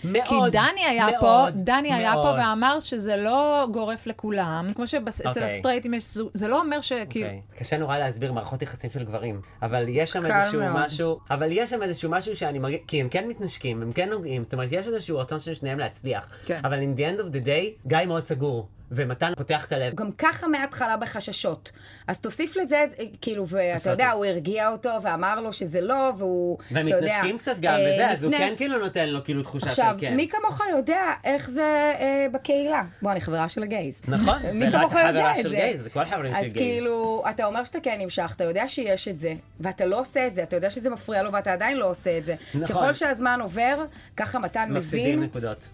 [SPEAKER 4] מאוד,
[SPEAKER 1] כי דני היה
[SPEAKER 4] מאוד,
[SPEAKER 1] פה, דני היה פה
[SPEAKER 4] מאוד.
[SPEAKER 1] ואמר שזה לא גורף לכולם, כמו שאצל
[SPEAKER 4] אוקיי.
[SPEAKER 1] הסטרייטים יש זוג, זה לא אומר שכאילו...
[SPEAKER 4] אוקיי. קשה נורא להסביר מערכות יחסים של גברים, אבל יש שם
[SPEAKER 5] קל
[SPEAKER 4] איזשהו
[SPEAKER 5] מאוד.
[SPEAKER 4] משהו, אבל יש שם איזשהו משהו שאני מרגיש, כי הם כן מתנשקים, הם כן נוגעים, זאת אומרת, יש איזשהו רצון של שניהם להצליח.
[SPEAKER 1] כן.
[SPEAKER 4] אבל in the end of the day, גיא מאוד סגור, ומתן פותח את הלב.
[SPEAKER 5] הוא גם ככה מההתחלה בחששות. אז תוסיף לזה, אה, כאילו,
[SPEAKER 4] עשה
[SPEAKER 5] ואתה יודע,
[SPEAKER 4] אותו.
[SPEAKER 5] הוא הרגיע אותו ואמר לו שזה לא, והוא, אתה
[SPEAKER 4] והם
[SPEAKER 5] יודע...
[SPEAKER 4] מתנשקים קצת גם
[SPEAKER 5] אה,
[SPEAKER 4] וזה, אז הוא
[SPEAKER 5] לפני-
[SPEAKER 4] כן כאילו נותן לו כאילו תחושה של
[SPEAKER 5] עכשיו,
[SPEAKER 4] כן.
[SPEAKER 5] מי כמוך יודע איך זה אה, בקהילה. בוא, אני חברה של הגייז.
[SPEAKER 4] נכון,
[SPEAKER 5] מי
[SPEAKER 4] זה רק
[SPEAKER 5] כמוך יודע
[SPEAKER 4] חברה
[SPEAKER 5] את זה.
[SPEAKER 4] של גייז, זה כל החברים של
[SPEAKER 5] אז
[SPEAKER 4] גייז.
[SPEAKER 5] כאילו, אתה אומר שאתה כן נמשך, אתה יודע שיש את זה, ואתה לא עושה את זה, אתה יודע שזה מפריע לו ואתה עדיין לא עושה את זה.
[SPEAKER 4] נכון.
[SPEAKER 5] ככל שהזמן עובר, ככה מתן
[SPEAKER 4] מפסידים
[SPEAKER 5] מבין
[SPEAKER 4] נקודות.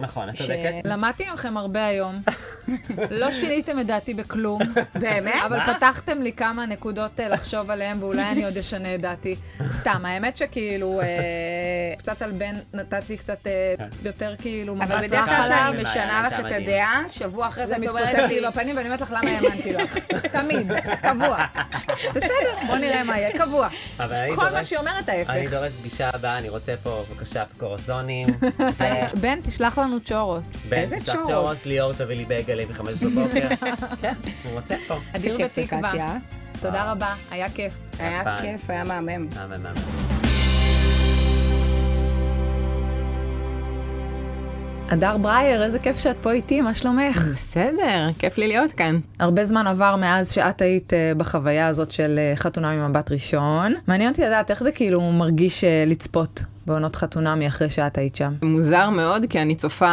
[SPEAKER 4] נכון, את
[SPEAKER 5] ש-
[SPEAKER 4] צודקת.
[SPEAKER 1] למדתי מכם הרבה היום. לא שיניתם את דעתי בכלום,
[SPEAKER 5] באמת?
[SPEAKER 1] אבל פתחתם לי כמה נקודות אה, לחשוב עליהן, ואולי אני עוד אשנה את דעתי. סתם, האמת שכאילו, אה, קצת על בן נתת לי קצת אה,
[SPEAKER 4] כן.
[SPEAKER 1] יותר כאילו
[SPEAKER 5] אבל
[SPEAKER 1] מבט
[SPEAKER 5] בדרך כלל
[SPEAKER 1] רך עליי.
[SPEAKER 5] כשאני
[SPEAKER 4] אין
[SPEAKER 5] משנה
[SPEAKER 4] בעיה,
[SPEAKER 5] לך
[SPEAKER 4] אתה
[SPEAKER 5] את
[SPEAKER 4] מדהים.
[SPEAKER 5] הדעה, שבוע אחרי זה
[SPEAKER 1] זה
[SPEAKER 5] את
[SPEAKER 1] מתפוצץ
[SPEAKER 5] אומרת "אוקיי." לי,
[SPEAKER 1] לי בפנים, ואני אומרת לך למה האמנתי לך. תמיד, קבוע. בסדר, בוא נראה מה יהיה, קבוע.
[SPEAKER 4] אבל אני
[SPEAKER 1] כל מה
[SPEAKER 4] דורש-
[SPEAKER 1] שהיא אומרת ההפך.
[SPEAKER 4] אני דורש פגישה הבאה, אני רוצה פה בבקשה קורזונים.
[SPEAKER 1] בן, תשלח לנו צ'ורוס.
[SPEAKER 4] בן,
[SPEAKER 5] איזה
[SPEAKER 4] תשלח
[SPEAKER 5] צ'ורוס?
[SPEAKER 4] צ'ורוס, ליאור תביא לי בייגלה בחמש בבוקר. כן, הוא רוצה פה.
[SPEAKER 5] איזה
[SPEAKER 1] אדיר
[SPEAKER 5] כיף לי,
[SPEAKER 1] בתקווה.
[SPEAKER 5] קטיה.
[SPEAKER 1] תודה רבה, היה כיף.
[SPEAKER 5] היה
[SPEAKER 4] הפעם.
[SPEAKER 5] כיף, היה מהמם.
[SPEAKER 4] מהמם, מהמם.
[SPEAKER 1] הדר ברייר, איזה כיף שאת פה איתי, מה שלומך?
[SPEAKER 7] בסדר, כיף לי להיות כאן.
[SPEAKER 1] הרבה זמן עבר מאז שאת היית אה, בחוויה הזאת של אה, חתונה ממבט ראשון. מעניין אותי לדעת איך זה כאילו מרגיש אה, לצפות בעונות חתונמי אחרי שאת היית שם.
[SPEAKER 7] מוזר מאוד, כי אני צופה,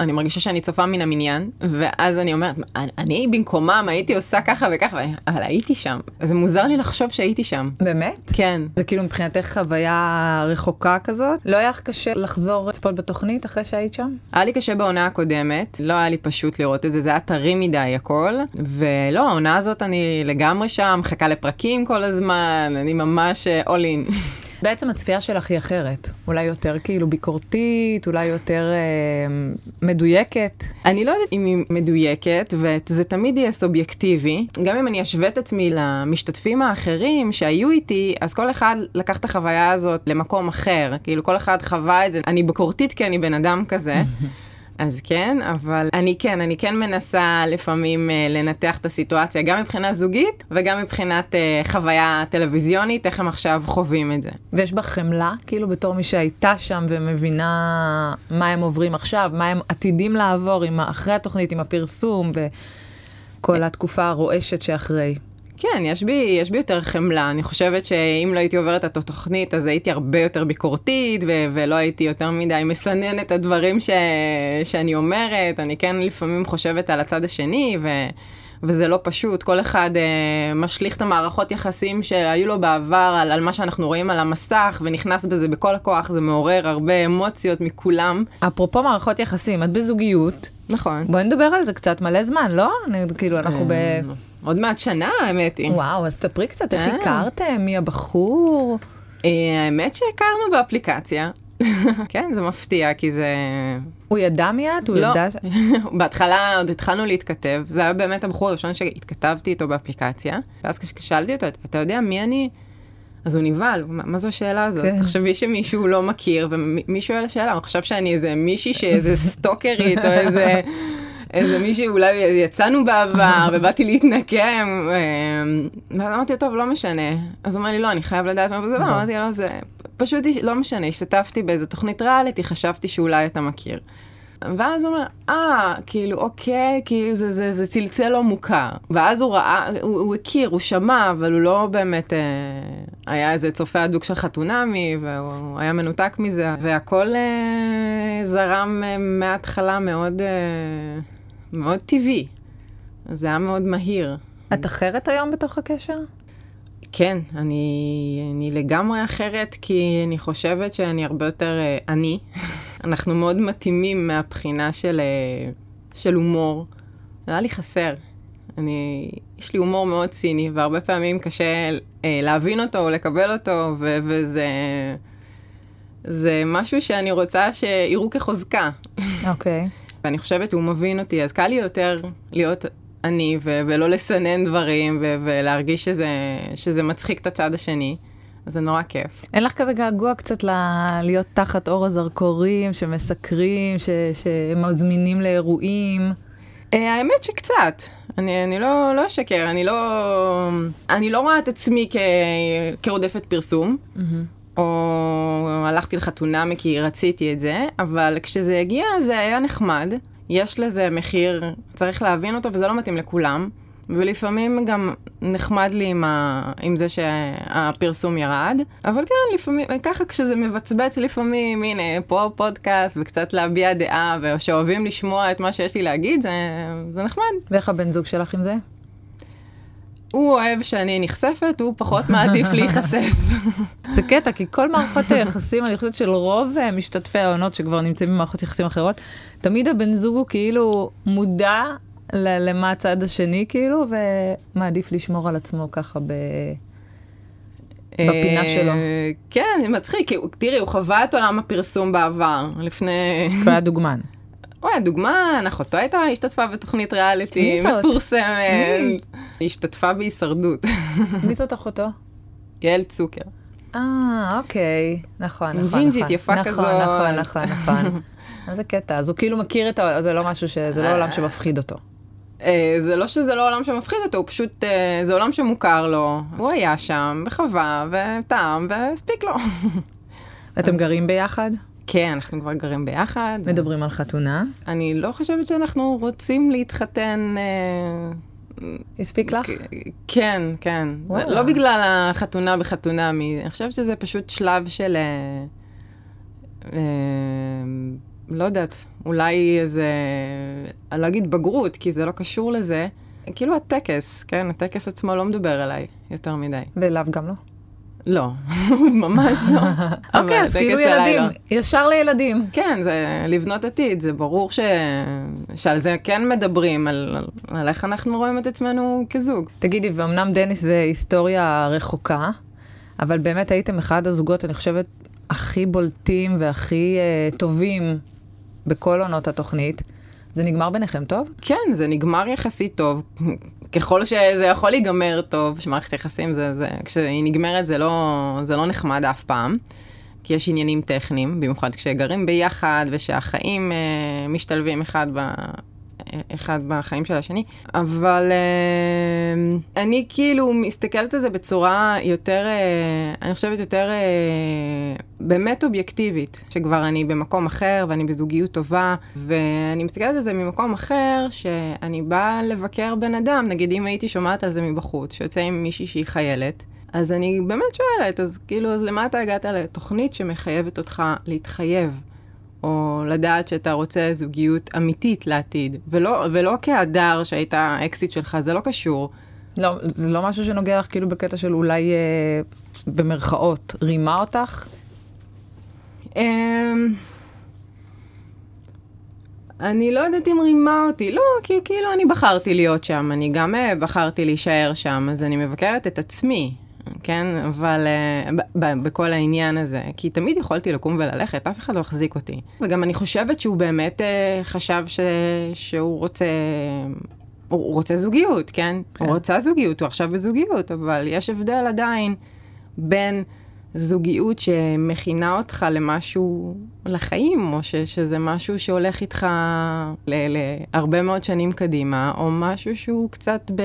[SPEAKER 7] אני מרגישה שאני צופה מן המניין, ואז אני אומרת, "אני- אני במקומם הייתי עושה ככה וככה, ואני, אבל הייתי שם. אז זה מוזר לי לחשוב שהייתי שם.
[SPEAKER 1] באמת?
[SPEAKER 7] כן.
[SPEAKER 1] זה כאילו מבחינתך חוויה רחוקה כזאת? לא היה לך קשה לחזור לצפות בתוכנית אחרי שהיית שם?
[SPEAKER 7] היה לי קשה בעונה הקודמת, לא היה לי פשוט לראות את זה, זה היה טרי מדי הכל, ולא, העונה הזאת אני לגמרי שם, מחכה לפרקים כל הזמן, אני ממש אה, all in.
[SPEAKER 1] בעצם הצפייה שלך היא אחרת. אולי יותר כאילו ביקורתית, אולי יותר אה, מדויקת.
[SPEAKER 7] אני לא יודעת אם היא מדויקת, וזה תמיד יהיה סובייקטיבי. גם אם אני אשווה את עצמי למשתתפים האחרים שהיו איתי, אז כל אחד לקח את החוויה הזאת למקום אחר. כאילו, כל אחד חווה את זה. אני ביקורתית כי אני בן אדם כזה. אז כן, אבל אני כן, אני כן מנסה לפעמים אה, לנתח את הסיטואציה, גם מבחינה זוגית וגם מבחינת אה, חוויה טלוויזיונית, איך הם עכשיו חווים את זה.
[SPEAKER 1] ויש בה חמלה, כאילו בתור מי שהייתה שם ומבינה מה הם עוברים עכשיו, מה הם עתידים לעבור עם ה- אחרי התוכנית, עם הפרסום וכל התקופה הרועשת שאחרי.
[SPEAKER 7] כן, יש בי, יש בי יותר חמלה. אני חושבת שאם לא הייתי עוברת את התוכנית, אז הייתי הרבה יותר ביקורתית, ו- ולא הייתי יותר מדי מסננת את הדברים ש- שאני אומרת. אני כן לפעמים חושבת על הצד השני, ו... וזה לא פשוט. כל אחד אה, משליך את המערכות יחסים שהיו לו בעבר על, על מה שאנחנו רואים על המסך, ונכנס בזה בכל הכוח, זה מעורר הרבה אמוציות מכולם.
[SPEAKER 1] אפרופו מערכות יחסים, את בזוגיות,
[SPEAKER 7] נכון.
[SPEAKER 1] בואי נדבר על זה קצת, מלא זמן, לא? אני, כאילו, אנחנו ב...
[SPEAKER 7] עוד מעט שנה, האמת היא.
[SPEAKER 1] וואו, אז תספרי קצת, איך
[SPEAKER 7] אה.
[SPEAKER 1] הכרתם? מי הבחור?
[SPEAKER 7] אה, האמת שהכרנו באפליקציה. כן, זה מפתיע, כי זה...
[SPEAKER 1] הוא ידע מיד? הוא
[SPEAKER 7] לא.
[SPEAKER 1] ידע ש...
[SPEAKER 7] בהתחלה עוד התחלנו להתכתב, זה היה באמת הבחור הראשון שהתכתבתי איתו באפליקציה, ואז כששאלתי אותו, אתה יודע מי אני? אז הוא נבהל, מה מה זו השאלה הזאת?
[SPEAKER 1] כן.
[SPEAKER 7] תחשבי שמישהו לא מכיר, ומי שואל שאלה, הוא חשב שאני איזה מישהי שאיזה סטוקרית, או איזה... איזה מישהי, אולי יצאנו בעבר, ובאתי להתנקם, אה, ואז אמרתי, טוב, לא משנה. אז הוא אמר לי, לא, אני חייב לדעת מה זה בא, אמרתי לו, זה פשוט איש- לא משנה, השתתפתי באיזו תוכנית ריאליטי, חשבתי שאולי אתה מכיר. ואז הוא אומר, אה, כאילו, אוקיי, כי זה, זה, זה צלצל לא מוכר. ואז הוא ראה, הוא, הוא הכיר, הוא שמע, אבל הוא לא באמת אה, היה איזה צופה הדוק של חתונמי, והוא היה מנותק מזה, והכל אה, זרם אה, מההתחלה מאוד, אה, מאוד טבעי. זה היה מאוד מהיר.
[SPEAKER 1] את אחרת היום בתוך הקשר?
[SPEAKER 7] כן, אני, אני לגמרי אחרת, כי אני חושבת שאני הרבה יותר אה, אני. אנחנו מאוד מתאימים מהבחינה של, אה, של הומור. זה היה לי חסר. אני, יש לי הומור מאוד ציני, והרבה פעמים קשה אה, להבין אותו או לקבל אותו, ו, וזה זה משהו שאני רוצה שיראו כחוזקה.
[SPEAKER 1] אוקיי.
[SPEAKER 7] ואני חושבת שהוא מבין אותי, אז קל לי יותר להיות אני ו- ולא לסנן דברים ו- ולהרגיש שזה, שזה מצחיק את הצד השני. אז זה נורא כיף.
[SPEAKER 1] אין לך כזה געגוע קצת ל- להיות תחת אור הזרקורים, שמסקרים, ש... שמזמינים לאירועים?
[SPEAKER 7] אה, האמת שקצת. אני, אני לא, לא אשקר, אני לא, אני לא רואה את עצמי כ, כרודפת פרסום, או הלכתי לחתונה כי רציתי את זה, אבל כשזה הגיע זה היה נחמד. יש לזה מחיר, צריך להבין אותו, וזה לא מתאים לכולם. ולפעמים גם נחמד לי עם, ה... עם זה שהפרסום ירד, אבל כן, לפעמים, ככה כשזה מבצבץ לפעמים, הנה, פה פודקאסט וקצת להביע דעה, ושאוהבים לשמוע את מה שיש לי להגיד, זה, זה נחמד.
[SPEAKER 1] ואיך הבן זוג שלך עם זה?
[SPEAKER 7] הוא אוהב שאני נחשפת, הוא פחות מעדיף להיחשף.
[SPEAKER 1] זה קטע, כי כל מערכות היחסים, אני חושבת של רוב אה, משתתפי העונות שכבר נמצאים במערכות יחסים אחרות, תמיד הבן זוג הוא כאילו מודע ל- למה הצד השני, כאילו, ומעדיף לשמור על עצמו ככה ב... בפינה שלו.
[SPEAKER 7] אה, כן, זה מצחיק, כי הוא- תראי, הוא חווה את עולם הפרסום בעבר, לפני...
[SPEAKER 1] כי הוא היה דוגמן.
[SPEAKER 7] הוא היה דוגמן, אחותו הייתה השתתפה בתוכנית ריאליטי
[SPEAKER 1] מי זאת? מי?
[SPEAKER 7] מפורסמת. היא השתתפה בהישרדות,
[SPEAKER 1] מי זאת אחותו?
[SPEAKER 7] יעל צוקר.
[SPEAKER 1] אה, אוקיי. נכון, נכון, נכון.
[SPEAKER 7] ג'ינג'ית יפה
[SPEAKER 1] נכון,
[SPEAKER 7] כזאת.
[SPEAKER 1] נכון, נכון, נכון. אז זה קטע, אז הוא כאילו מכיר את ה... זה לא משהו ש... זה לא עולם שמפחיד אותו.
[SPEAKER 7] אה, זה לא שזה לא עולם שמפחיד אותו, הוא פשוט, אה, זה עולם שמוכר לו. הוא היה שם, וחווה, וטעם, והספיק לו.
[SPEAKER 1] אתם גרים ביחד?
[SPEAKER 7] כן, אנחנו כבר גרים ביחד.
[SPEAKER 1] מדברים על חתונה?
[SPEAKER 7] אני לא חושבת שאנחנו רוצים להתחתן... אה,
[SPEAKER 1] הספיק לך?
[SPEAKER 7] כ- כן, כן. זה
[SPEAKER 1] וואלה.
[SPEAKER 7] לא בגלל החתונה בחתונה, מי- אני חושבת שזה פשוט שלב של... אה, אה, לא יודעת, אולי איזה... אני לא אגיד בגרות, כי זה לא קשור לזה. כאילו הטקס, כן? הטקס עצמו לא מדבר אליי יותר מדי.
[SPEAKER 1] ולאו גם לא.
[SPEAKER 7] לא, ממש לא. אבל
[SPEAKER 1] אוקיי, אז
[SPEAKER 7] הטקס
[SPEAKER 1] כאילו
[SPEAKER 7] אליי
[SPEAKER 1] ילדים,
[SPEAKER 7] לא.
[SPEAKER 1] ישר לילדים.
[SPEAKER 7] כן, זה לבנות עתיד, זה ברור ש... שעל זה כן מדברים, על, על, על איך אנחנו רואים את עצמנו כזוג.
[SPEAKER 1] תגידי, ואומנם דניס זה היסטוריה רחוקה, אבל באמת הייתם אחד הזוגות, אני חושבת, הכי בולטים והכי אה, טובים בכל עונות התוכנית. זה נגמר ביניכם טוב?
[SPEAKER 7] כן, זה נגמר יחסית טוב, ככל שזה יכול להיגמר טוב, שמערכת יחסים זה, זה, כשהיא נגמרת זה לא, זה לא נחמד אף פעם, כי יש עניינים טכניים, במיוחד כשגרים ביחד ושהחיים אה, משתלבים אחד ב... אחד בחיים של השני, אבל אה, אני כאילו מסתכלת על זה בצורה יותר, אה, אני חושבת יותר אה, באמת אובייקטיבית, שכבר אני במקום אחר ואני בזוגיות טובה, ואני מסתכלת על זה ממקום אחר, שאני באה לבקר בן אדם, נגיד אם הייתי שומעת על זה מבחוץ, שיוצא עם מישהי שהיא חיילת, אז אני באמת שואלת, אז כאילו, אז למה אתה הגעת לתוכנית שמחייבת אותך להתחייב? או לדעת שאתה רוצה זוגיות אמיתית לעתיד, ולא, ולא כהדר שהיית האקסיט שלך, זה לא קשור.
[SPEAKER 1] לא, זה לא משהו שנוגע לך כאילו בקטע של אולי אה, במרכאות רימה אותך?
[SPEAKER 7] אמ... אני לא יודעת אם רימה אותי, לא, כי כאילו אני בחרתי להיות שם, אני גם אה, בחרתי להישאר שם, אז אני מבקרת את עצמי, כן? אבל אה, ב- ב- בכל העניין הזה, כי תמיד יכולתי לקום וללכת, אף אחד לא החזיק אותי. וגם אני חושבת שהוא באמת אה, חשב ש... שהוא רוצה... הוא הוא רוצה זוגיות, כן? הוא רוצה זוגיות, הוא עכשיו בזוגיות, אבל יש הבדל עדיין בין זוגיות שמכינה אותך למשהו, לחיים, או ש, שזה משהו שהולך איתך ל- להרבה מאוד שנים קדימה, או משהו שהוא קצת ב...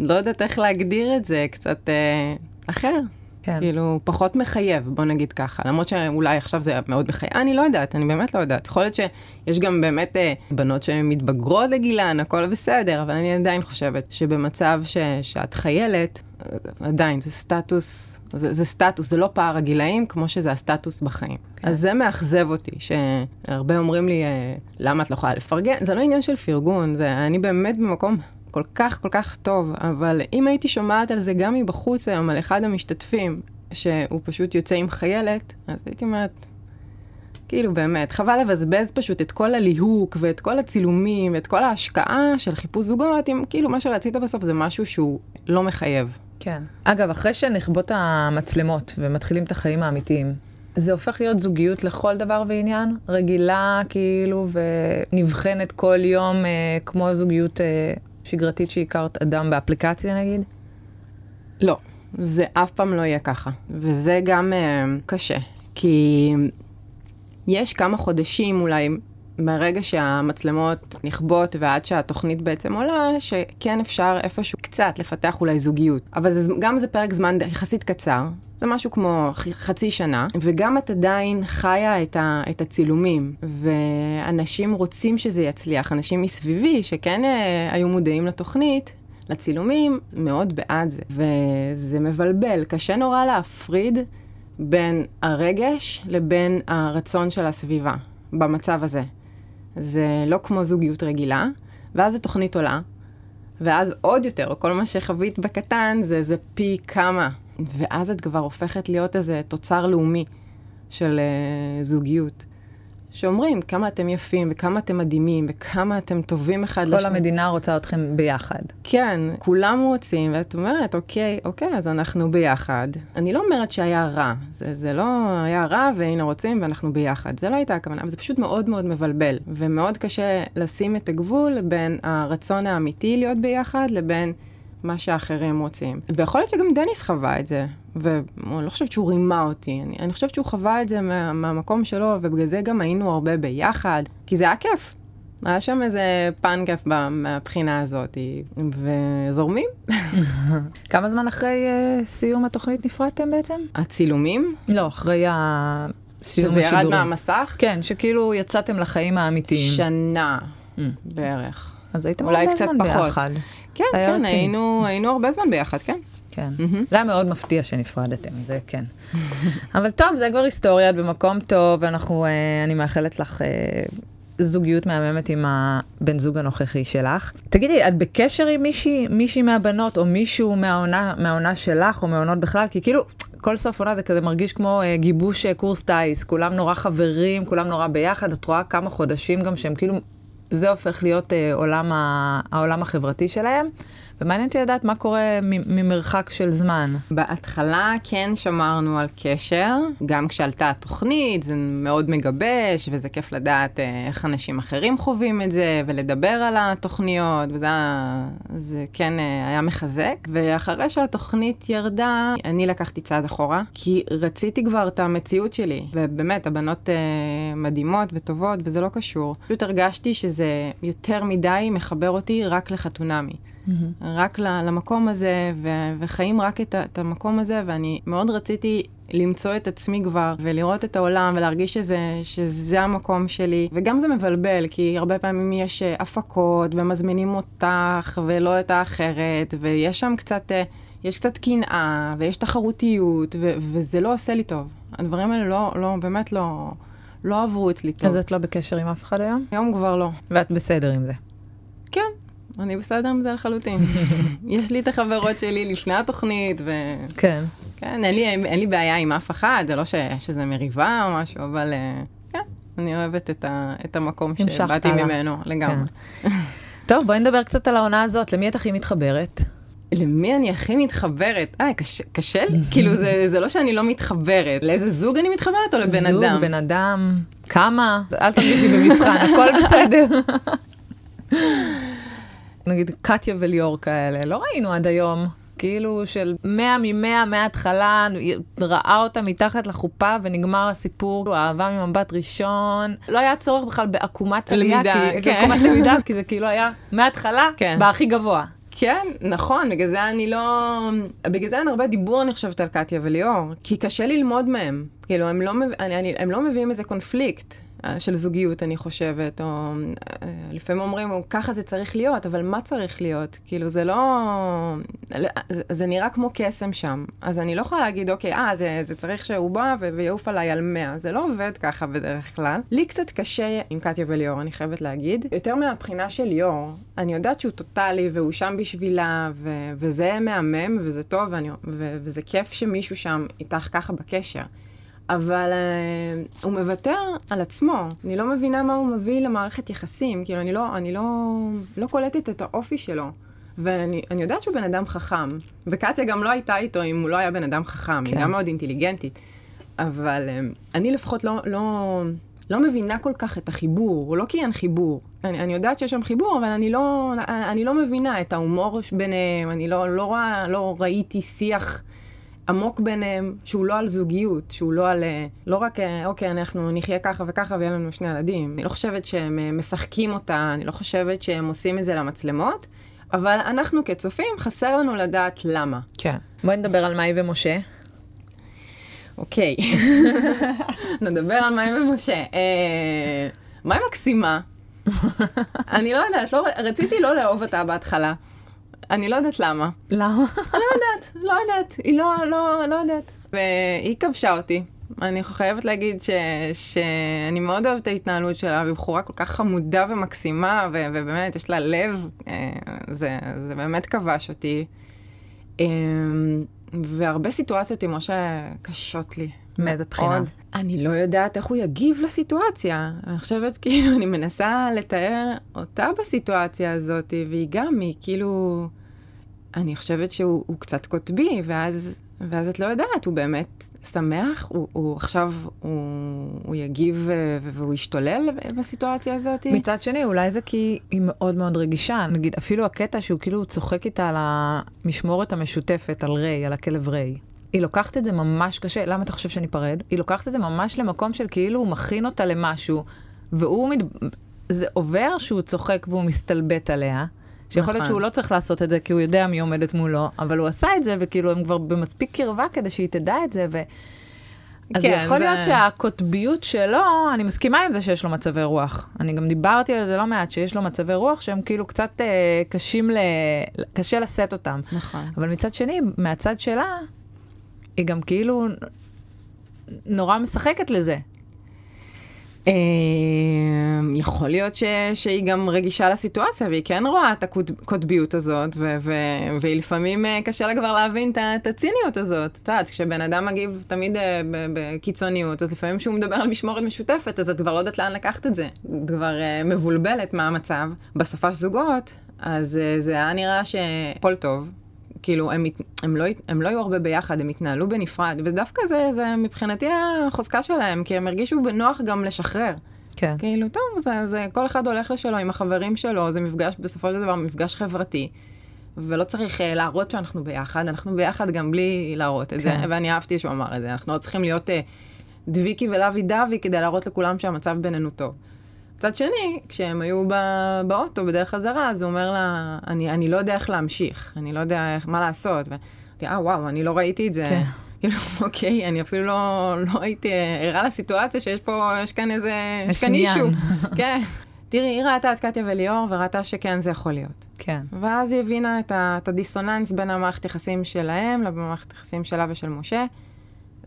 [SPEAKER 7] לא יודעת איך להגדיר את זה, קצת אה, אחר.
[SPEAKER 1] כן.
[SPEAKER 7] כאילו, פחות מחייב, בוא נגיד ככה. למרות שאולי עכשיו זה מאוד מחייב, אני לא יודעת, אני באמת לא יודעת. יכול להיות שיש גם באמת אה, בנות שמתבגרות לגילן, הכל בסדר, אבל אני עדיין חושבת שבמצב ש, שאת חיילת, אה, עדיין, זה סטטוס, זה, זה סטטוס, זה לא פער הגילאים כמו שזה הסטטוס בחיים. כן. אז זה מאכזב אותי, שהרבה אומרים לי, אה, למה את לא יכולה לפרגן? זה לא עניין של פרגון, זה, אני באמת במקום כל כך כל כך טוב, אבל אם הייתי שומעת על זה גם מבחוץ היום, על אחד המשתתפים, שהוא פשוט יוצא עם חיילת, אז הייתי אומרת, כאילו באמת, חבל לבזבז פשוט את כל הליהוק ואת כל הצילומים ואת כל ההשקעה של חיפוש זוגות, אם כאילו מה שרצית בסוף זה משהו שהוא לא מחייב.
[SPEAKER 1] כן. אגב, אחרי שנחבוט המצלמות ומתחילים את החיים האמיתיים, זה הופך להיות זוגיות לכל דבר ועניין, רגילה כאילו, ונבחנת כל יום אה, כמו זוגיות אה, שגרתית שהכרת אדם באפליקציה נגיד.
[SPEAKER 7] לא, זה אף פעם לא יהיה ככה, וזה גם אה, קשה, כי יש כמה חודשים אולי מהרגע שהמצלמות נכבות ועד שהתוכנית בעצם עולה, שכן אפשר איפשהו קצת לפתח אולי זוגיות. אבל זה, גם זה פרק זמן די- יחסית קצר, זה משהו כמו ח- חצי שנה, וגם את עדיין חיה את, ה, את הצילומים, ואנשים רוצים שזה יצליח, אנשים מסביבי שכן אה, היו מודעים לתוכנית. לצילומים, מאוד בעד זה, וזה מבלבל, קשה נורא להפריד בין הרגש לבין הרצון של הסביבה במצב הזה. זה לא כמו זוגיות רגילה, ואז התוכנית עולה, ואז עוד יותר, או כל מה שחווית בקטן זה איזה פי כמה. ואז את כבר הופכת להיות איזה תוצר לאומי של אה, זוגיות. שאומרים כמה אתם יפים, וכמה אתם מדהימים, וכמה אתם טובים אחד
[SPEAKER 1] כל המדינה רוצה אתכם ביחד.
[SPEAKER 7] כן, כולם רוצים, ואת אומרת, אוקיי, אוקיי, אז אנחנו ביחד. אני לא אומרת שהיה רע, זה, זה לא היה רע, והנה רוצים ואנחנו ביחד. זה לא הייתה הכוונה, אבל זה פשוט מאוד מאוד מבלבל, ומאוד קשה לשים את הגבול בין הרצון האמיתי להיות ביחד לבין מה שאחרים רוצים. ויכול להיות שגם דניס חווה את זה, ואני לא חושבת שהוא רימה אותי, אני, אני חושבת שהוא חווה את זה מה, מהמקום שלו, ובגלל זה גם היינו הרבה ביחד, כי זה היה כיף. היה שם איזה פן כיף ב- מהבחינה הזאת, וזורמים.
[SPEAKER 1] כמה זמן אחרי אה, סיום התוכנית נפרדתם בעצם?
[SPEAKER 7] הצילומים,
[SPEAKER 1] לא, אחרי ה- סיום
[SPEAKER 7] שזה ירד
[SPEAKER 1] השידורים.
[SPEAKER 7] מהמסך,
[SPEAKER 1] כן, שכאילו יצאתם לחיים האמיתיים.
[SPEAKER 7] שנה
[SPEAKER 1] Mm.
[SPEAKER 7] בערך.
[SPEAKER 1] אז הייתם
[SPEAKER 7] אולי
[SPEAKER 1] הרבה
[SPEAKER 7] קצת
[SPEAKER 1] זמן
[SPEAKER 7] פחות.
[SPEAKER 1] ביחד.
[SPEAKER 7] כן,
[SPEAKER 1] היה
[SPEAKER 7] כן,
[SPEAKER 1] רציני.
[SPEAKER 7] היינו, היינו הרבה זמן ביחד, כן.
[SPEAKER 1] כן. זה היה מאוד מפתיע שנפרדתם, זה כן. אבל טוב, זה כבר היסטוריה, את במקום טוב, אנחנו, אה, אני מאחלת לך אה, זוגיות מהממת עם הבן זוג הנוכחי שלך. תגידי, את בקשר עם מישהי, מישהי מהבנות, או מישהו מהעונה, מהעונה שלך, או מהעונות בכלל? כי כאילו, כל סוף עונה זה כזה מרגיש כמו אה, גיבוש אה, קורס טיס, כולם נורא חברים, כולם נורא ביחד, את רואה כמה חודשים גם שהם כאילו... זה הופך להיות אה, עולם ה, העולם החברתי שלהם, ומעניין אותי לדעת מה קורה מ- ממרחק של זמן.
[SPEAKER 7] בהתחלה כן שמרנו על קשר, גם כשעלתה התוכנית, זה מאוד מגבש, וזה כיף לדעת אה, איך אנשים אחרים חווים את זה, ולדבר על התוכניות, וזה היה- זה כן אה, היה מחזק. ואחרי שהתוכנית ירדה, אני לקחתי צעד אחורה, כי רציתי כבר את המציאות שלי, ובאמת, הבנות אה, מדהימות וטובות, וזה לא קשור. פשוט הרגשתי שזה יותר מדי מחבר אותי רק לחתונמי. רק ל- למקום הזה, ו- וחיים רק את, ה- את המקום הזה, ואני מאוד רציתי למצוא את עצמי כבר, ולראות את העולם, ולהרגיש שזה, שזה המקום שלי. וגם זה מבלבל, כי הרבה פעמים יש אה, הפקות, ומזמינים אותך, ולא את האחרת, ויש שם קצת, אה, יש קצת קנאה, ויש תחרותיות, ו- וזה לא עושה לי טוב. הדברים האלה לא, לא, באמת לא, לא עברו אצלי טוב.
[SPEAKER 1] אז את לא בקשר עם אף אחד היום?
[SPEAKER 7] היום כבר לא.
[SPEAKER 1] ואת בסדר עם זה.
[SPEAKER 7] כן, אני בסדר עם זה לחלוטין. יש לי את החברות שלי לפני התוכנית, וכן,
[SPEAKER 1] כן.
[SPEAKER 7] אין לי, אין לי בעיה עם אף אחד, זה לא ש, שזה מריבה או משהו, אבל אה, כן, אני אוהבת את, ה, את המקום
[SPEAKER 1] המשכת
[SPEAKER 7] שבאתי
[SPEAKER 1] הלאה.
[SPEAKER 7] ממנו לגמרי.
[SPEAKER 1] טוב, בואי נדבר קצת על העונה הזאת, למי את הכי מתחברת?
[SPEAKER 7] למי אני הכי מתחברת? אה, קשה,
[SPEAKER 1] כן.
[SPEAKER 7] קשה לי? כאילו, זה, זה לא שאני לא מתחברת. לאיזה זוג אני מתחברת או לבן
[SPEAKER 1] זוג,
[SPEAKER 7] אדם?
[SPEAKER 1] בן אדם, כמה? אל תרגישי במבחן, הכל בסדר. נגיד קטיה וליאור כאלה, לא ראינו עד היום. כאילו של 100 מ-100 מההתחלה, ראה אותה מתחת לחופה ונגמר הסיפור, אהבה ממבט ראשון. לא היה צורך בכלל בעקומת עלייה,
[SPEAKER 7] למידה,
[SPEAKER 1] כי-
[SPEAKER 7] כן.
[SPEAKER 1] עקומת למידה, כי זה כאילו היה מההתחלה,
[SPEAKER 7] כן.
[SPEAKER 1] בהכי גבוה.
[SPEAKER 7] כן, נכון, בגלל זה אני לא... בגלל זה אין הרבה דיבור, אני חושבת, על קטיה וליאור, כי קשה ללמוד מהם. כאילו, הם לא, מב- אני, אני, הם לא מביאים איזה קונפליקט אה, של זוגיות, אני חושבת, או אה, לפעמים אומרים, "או, ככה זה צריך להיות, אבל מה צריך להיות? כאילו, זה לא... לא- זה, זה נראה כמו קסם שם. אז אני לא יכולה להגיד, אוקיי, אה, זה, זה צריך שהוא בא ו- ויעוף עליי על 100. זה לא עובד ככה בדרך כלל. לי קצת קשה עם קטיה וליאור, אני חייבת להגיד. יותר מהבחינה של ליאור, אני יודעת שהוא טוטאלי והוא שם בשבילה, ו- וזה מהמם, וזה טוב, ואני, ו- וזה כיף שמישהו שם איתך ככה בקשר. אבל אה, הוא מוותר על עצמו. אני לא מבינה מה הוא מביא למערכת יחסים. כאילו, אני לא, אני לא, לא קולטת את האופי שלו. ואני אני יודעת שהוא בן אדם חכם, וקטיה גם לא הייתה איתו אם הוא לא היה בן אדם חכם,
[SPEAKER 1] כן.
[SPEAKER 7] היא גם מאוד אינטליגנטית. אבל אה, אני לפחות לא, לא, לא מבינה כל כך את החיבור, לא כי אין חיבור. אני, אני יודעת שיש שם חיבור, אבל אני לא, אני לא מבינה את ההומור ביניהם, אני לא, לא, רא, לא ראיתי שיח עמוק ביניהם, שהוא לא על זוגיות, שהוא לא על... אה, לא רק, אה, אוקיי, אנחנו נחיה ככה וככה ויהיה לנו שני ילדים. אני לא חושבת שהם אה, משחקים אותה, אני לא חושבת שהם עושים את זה למצלמות, אבל אנחנו כצופים, חסר לנו לדעת למה.
[SPEAKER 1] כן. בואי נדבר על מאי ומשה.
[SPEAKER 7] אוקיי. נדבר על מאי ומשה. אה, מאי מקסימה. אני לא יודעת, לא, רציתי לא לאהוב אותה בהתחלה. אני לא יודעת למה.
[SPEAKER 1] למה?
[SPEAKER 7] לא יודעת, היא לא, לא, לא יודעת. לא והיא כבשה אותי. אני חייבת להגיד ש, שאני מאוד אוהבת את ההתנהלות שלה, והיא בחורה כל כך חמודה ומקסימה, ו, ובאמת, יש לה לב, אה, זה, זה באמת כבש אותי. אה, והרבה סיטואציות עם משה קשות לי.
[SPEAKER 1] מאיזה בחינה?
[SPEAKER 7] מאוד. אני לא יודעת איך הוא יגיב לסיטואציה. אני חושבת, כאילו, אני מנסה לתאר אותה בסיטואציה הזאת, והיא גם, היא כאילו... אני חושבת שהוא הוא קצת קוטבי, ואז, ואז את לא יודעת, הוא באמת שמח, הוא, הוא עכשיו, הוא, הוא יגיב אה, והוא ישתולל בסיטואציה הזאת.
[SPEAKER 1] מצד שני, אולי זה כי היא מאוד מאוד רגישה. נגיד, אפילו הקטע שהוא כאילו צוחק איתה על המשמורת המשותפת, על ריי, על הכלב ריי. היא לוקחת את זה ממש קשה, למה אתה חושב שאני אפרד? היא לוקחת את זה ממש למקום של כאילו הוא מכין אותה למשהו, והוא מת... זה עובר שהוא צוחק והוא מסתלבט עליה. שיכול להיות
[SPEAKER 7] נכון.
[SPEAKER 1] שהוא לא צריך לעשות את זה, כי הוא יודע מי עומדת מולו, אבל הוא עשה את זה, וכאילו הם כבר במספיק קרבה כדי שהיא תדע את זה, ו... אז
[SPEAKER 7] כן,
[SPEAKER 1] כן, יכול
[SPEAKER 7] זה-
[SPEAKER 1] זה... להיות שהקוטביות שלו, אני מסכימה עם זה שיש לו מצבי רוח. אני גם דיברתי על זה לא מעט, שיש לו מצבי רוח שהם כאילו קצת אה, קשים, ל... קשה לשאת אותם.
[SPEAKER 7] נכון.
[SPEAKER 1] אבל מצד שני, מהצד שלה, היא גם כאילו נורא משחקת לזה.
[SPEAKER 7] אה, אמ, יכול להיות ש, שהיא גם רגישה לסיטואציה, והיא כן רואה את הקוטביות הזאת, ו, ו, והיא לפעמים אה, קשה לה כבר להבין את, ה- את הציניות הזאת. את יודעת, כשבן אדם מגיב תמיד אה, ב- בקיצוניות, אז לפעמים כשהוא מדבר על משמורת משותפת, אז את כבר לא יודעת לאן לקחת את זה. את כבר אה, מבולבלת מה המצב. בסופש זוגות, אז אה, זה היה נראה שהכל טוב. כאילו, הם, הת- הם, לא, הת- הם לא היו הרבה ביחד, הם התנהלו בנפרד, ודווקא זה, זה מבחינתי החוזקה שלהם, כי הם הרגישו בנוח גם לשחרר.
[SPEAKER 1] כן.
[SPEAKER 7] כאילו, טוב, זה, זה, כל אחד הולך לשלו עם החברים שלו, זה מפגש, בסופו של דבר, מפגש חברתי. ולא צריך uh, להראות שאנחנו ביחד, אנחנו ביחד גם בלי להראות את כן. זה, ואני אהבתי שהוא אמר את זה, אנחנו לא צריכים להיות uh, דביקי ולוי דווי כדי להראות לכולם שהמצב בינינו טוב. מצד שני, כשהם היו ב, באוטו בדרך חזרה, אז הוא אומר לה, אני, אני לא יודע איך להמשיך, אני לא יודע איך, מה לעשות. ואמרתי, אה, וואו, אני לא ראיתי את זה.
[SPEAKER 1] כן.
[SPEAKER 7] כאילו, אוקיי, אני אפילו לא, לא הייתי ערה לסיטואציה שיש פה, יש כאן איזה, יש כאן
[SPEAKER 1] עניין.
[SPEAKER 7] אישו. כן. תראי, היא ראתה את קטיה וליאור, וראתה שכן, זה יכול להיות.
[SPEAKER 1] כן.
[SPEAKER 7] ואז היא הבינה את, ה, את הדיסוננס בין המערכת יחסים שלהם למערכת יחסים שלה ושל משה.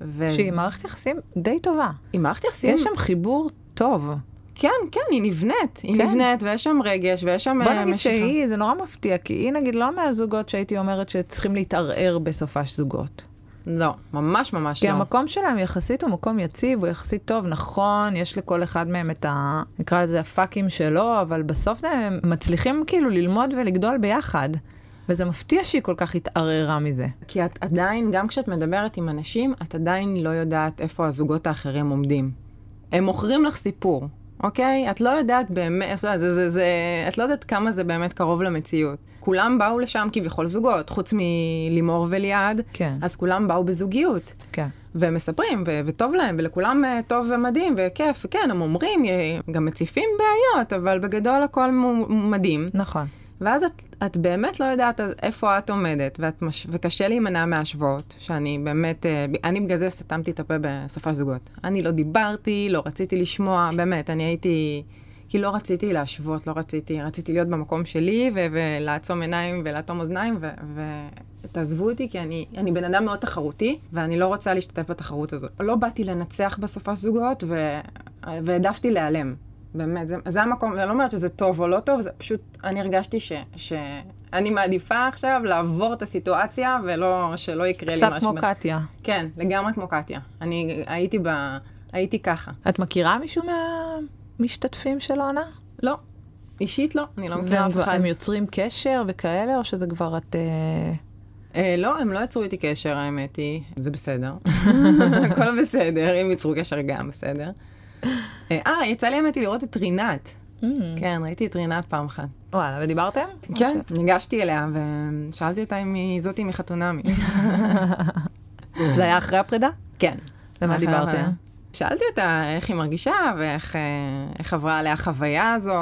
[SPEAKER 7] ו...
[SPEAKER 1] שהיא מערכת יחסים די טובה.
[SPEAKER 7] היא מערכת כן. יחסים,
[SPEAKER 1] יש שם חיבור טוב.
[SPEAKER 7] כן, כן, היא נבנית. היא
[SPEAKER 1] כן.
[SPEAKER 7] נבנית, ויש שם רגש, ויש שם
[SPEAKER 1] בוא
[SPEAKER 7] אה,
[SPEAKER 1] נגיד
[SPEAKER 7] משיכה.
[SPEAKER 1] שהיא, זה נורא מפתיע, כי היא נגיד לא מהזוגות שהייתי אומרת שצריכים להתערער בסופש זוגות.
[SPEAKER 7] לא, ממש ממש
[SPEAKER 1] כי
[SPEAKER 7] לא.
[SPEAKER 1] המקום שלהם יחסית הוא מקום יציב, הוא יחסית טוב, נכון, יש לכל אחד מהם את ה... נקרא לזה הפאקים שלו, אבל בסוף זה, הם מצליחים כאילו ללמוד ולגדול ביחד. וזה מפתיע שהיא כל כך התערערה מזה.
[SPEAKER 7] כי את עדיין, גם כשאת מדברת עם אנשים, את עדיין לא יודעת איפה הזוגות האחרים עומדים. הם מוכרים לך סיפור, אוקיי? את לא יודעת באמת, זאת אומרת, זה, זה, זה, את לא יודעת כמה זה באמת קרוב למציאות. כולם באו לשם כביכול זוגות, חוץ מלימור וליעד,
[SPEAKER 1] כן,
[SPEAKER 7] אז כולם באו בזוגיות.
[SPEAKER 1] כן.
[SPEAKER 7] והם מספרים, ו- וטוב להם, ולכולם אה, טוב ומדהים, וכיף, וכן, הם אומרים, אה, גם מציפים בעיות, אבל בגדול הכל מו- מדהים.
[SPEAKER 1] נכון.
[SPEAKER 7] ואז את, את באמת לא יודעת אז איפה את עומדת, ואת מש... וקשה להימנע מהשוואות, שאני באמת, אה, ב- אני בגלל זה סתמתי את הפה בסופה של זוגות. אני לא דיברתי, לא רציתי לשמוע, באמת, אני הייתי, כי לא רציתי להשוות, לא רציתי, רציתי להיות במקום שלי, ו- ולעצום עיניים ולאטום אוזניים, ו... ו... תעזבו אותי, כי אני, אני בן אדם מאוד תחרותי, ואני לא רוצה להשתתף בתחרות הזאת. לא באתי לנצח בסופה של זוגות, ו... והעדפתי להיעלם. באמת, זה, זה המקום, ואני לא אומרת שזה טוב או לא טוב, זה פשוט, אני הרגשתי ש, שאני מעדיפה עכשיו לעבור את הסיטואציה ולא, שלא יקרה לי
[SPEAKER 1] קצת
[SPEAKER 7] משהו.
[SPEAKER 1] כמו קטיה.
[SPEAKER 7] כן, לגמרי כמו קטיה. אני הייתי ב... הייתי ככה.
[SPEAKER 1] את מכירה מישהו מהמשתתפים של העונה?
[SPEAKER 7] לא, אישית לא, אני לא מכירה
[SPEAKER 1] והם
[SPEAKER 7] אף
[SPEAKER 1] כבר-
[SPEAKER 7] אחד.
[SPEAKER 1] הם יוצרים קשר וכאלה, או שזה כבר את... אה,
[SPEAKER 7] אה, לא, הם לא יצרו איתי קשר, האמת היא. זה בסדר. הכל בסדר, אם ייצרו קשר גם בסדר. אה, אה, יצא לי האמת היא לראות את רינת.
[SPEAKER 1] Mm.
[SPEAKER 7] כן, ראיתי את רינת פעם אחת.
[SPEAKER 1] וואלה, ודיברתם?
[SPEAKER 7] כן, ניגשתי אליה ושאלתי אותה אם היא זאתי מחתונמי.
[SPEAKER 1] זה היה אחרי הפרידה?
[SPEAKER 7] כן.
[SPEAKER 1] ומה
[SPEAKER 7] אחרי הבעיה.
[SPEAKER 1] דיברתם?
[SPEAKER 7] שאלתי אותה איך היא מרגישה ואיך אה, איך עברה עליה החוויה הזו.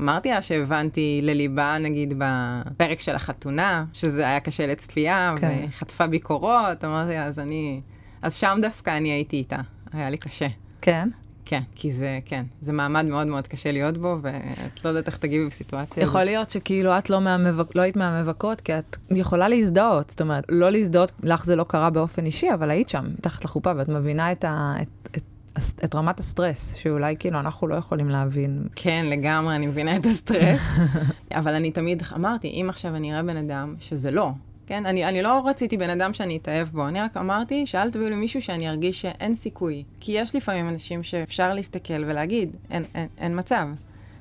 [SPEAKER 7] אמרתי לה שהבנתי לליבה, נגיד, בפרק של החתונה, שזה היה קשה לצפייה,
[SPEAKER 1] כן.
[SPEAKER 7] והיא חטפה ביקורות. אמרתי לה, אז אני... אז שם דווקא אני הייתי איתה, היה לי קשה.
[SPEAKER 1] כן.
[SPEAKER 7] כן, כי זה, כן, זה מעמד מאוד מאוד קשה להיות בו, ואת לא יודעת איך תגיבי בסיטואציה.
[SPEAKER 1] יכול להיות שכאילו את לא, מהמבק... לא היית מהמבקרות, כי את יכולה להזדהות. זאת אומרת, לא להזדהות, לך זה לא קרה באופן אישי, אבל היית שם, מתחת לחופה, ואת מבינה את, ה... את, את, את, את רמת הסטרס, שאולי כאילו אנחנו לא יכולים להבין.
[SPEAKER 7] כן, לגמרי, אני מבינה את הסטרס. אבל אני תמיד אמרתי, אם עכשיו אני אראה בן אדם שזה לא, כן? אני, אני לא רציתי בן אדם שאני אתאהב בו, אני רק אמרתי שאל תביאו לי מישהו שאני ארגיש שאין סיכוי. כי יש לפעמים אנשים שאפשר להסתכל ולהגיד, אין, אין, אין מצב.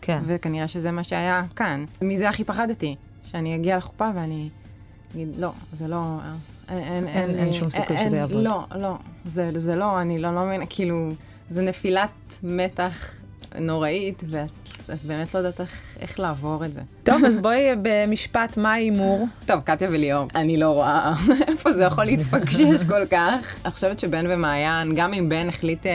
[SPEAKER 1] כן.
[SPEAKER 7] וכנראה שזה מה שהיה כאן. מזה הכי פחדתי, שאני אגיע לחופה ואני אגיד, לא, זה לא... אין, אין,
[SPEAKER 1] אין- אין שום סיכוי שזה יעבוד."
[SPEAKER 7] לא, לא, זה, זה לא, אני לא, לא מבינה, כאילו, זה נפילת מתח נוראית, ואת את באמת לא יודעת איך, איך לעבור את זה.
[SPEAKER 1] טוב, אז בואי במשפט, מה ההימור?
[SPEAKER 7] טוב, קטיה וליאור, אני לא רואה איפה זה יכול להתפקשש כל כך. אני חושבת שבן ומעיין, גם אם בן החליט אה,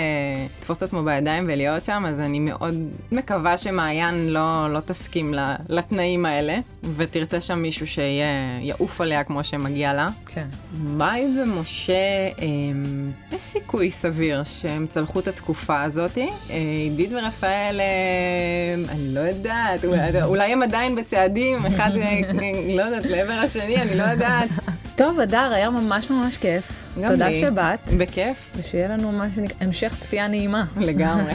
[SPEAKER 7] לתפוס את עצמו בידיים ולהיות שם, אז אני מאוד מקווה שמעיין לא, לא תסכים ל- לתנאים האלה, ותרצה שם מישהו שיעוף עליה כמו שמגיע לה.
[SPEAKER 1] כן.
[SPEAKER 7] מאי ומשה, אמ, יש סיכוי סביר שהם צלחו את התקופה הזאת. אה, עידית ורפאל, אמ, אני לא יודעת, אולי- אולי הם עדיין בצעדים, אחד, אה, לא יודעת, לעבר השני, אני לא יודעת.
[SPEAKER 1] טוב, אדר, היה ממש ממש כיף.
[SPEAKER 7] גם
[SPEAKER 1] תודה
[SPEAKER 7] לי.
[SPEAKER 1] שבאת,
[SPEAKER 7] בכיף,
[SPEAKER 1] ושיהיה לנו מה שנקרא, המשך צפייה נעימה.
[SPEAKER 7] לגמרי.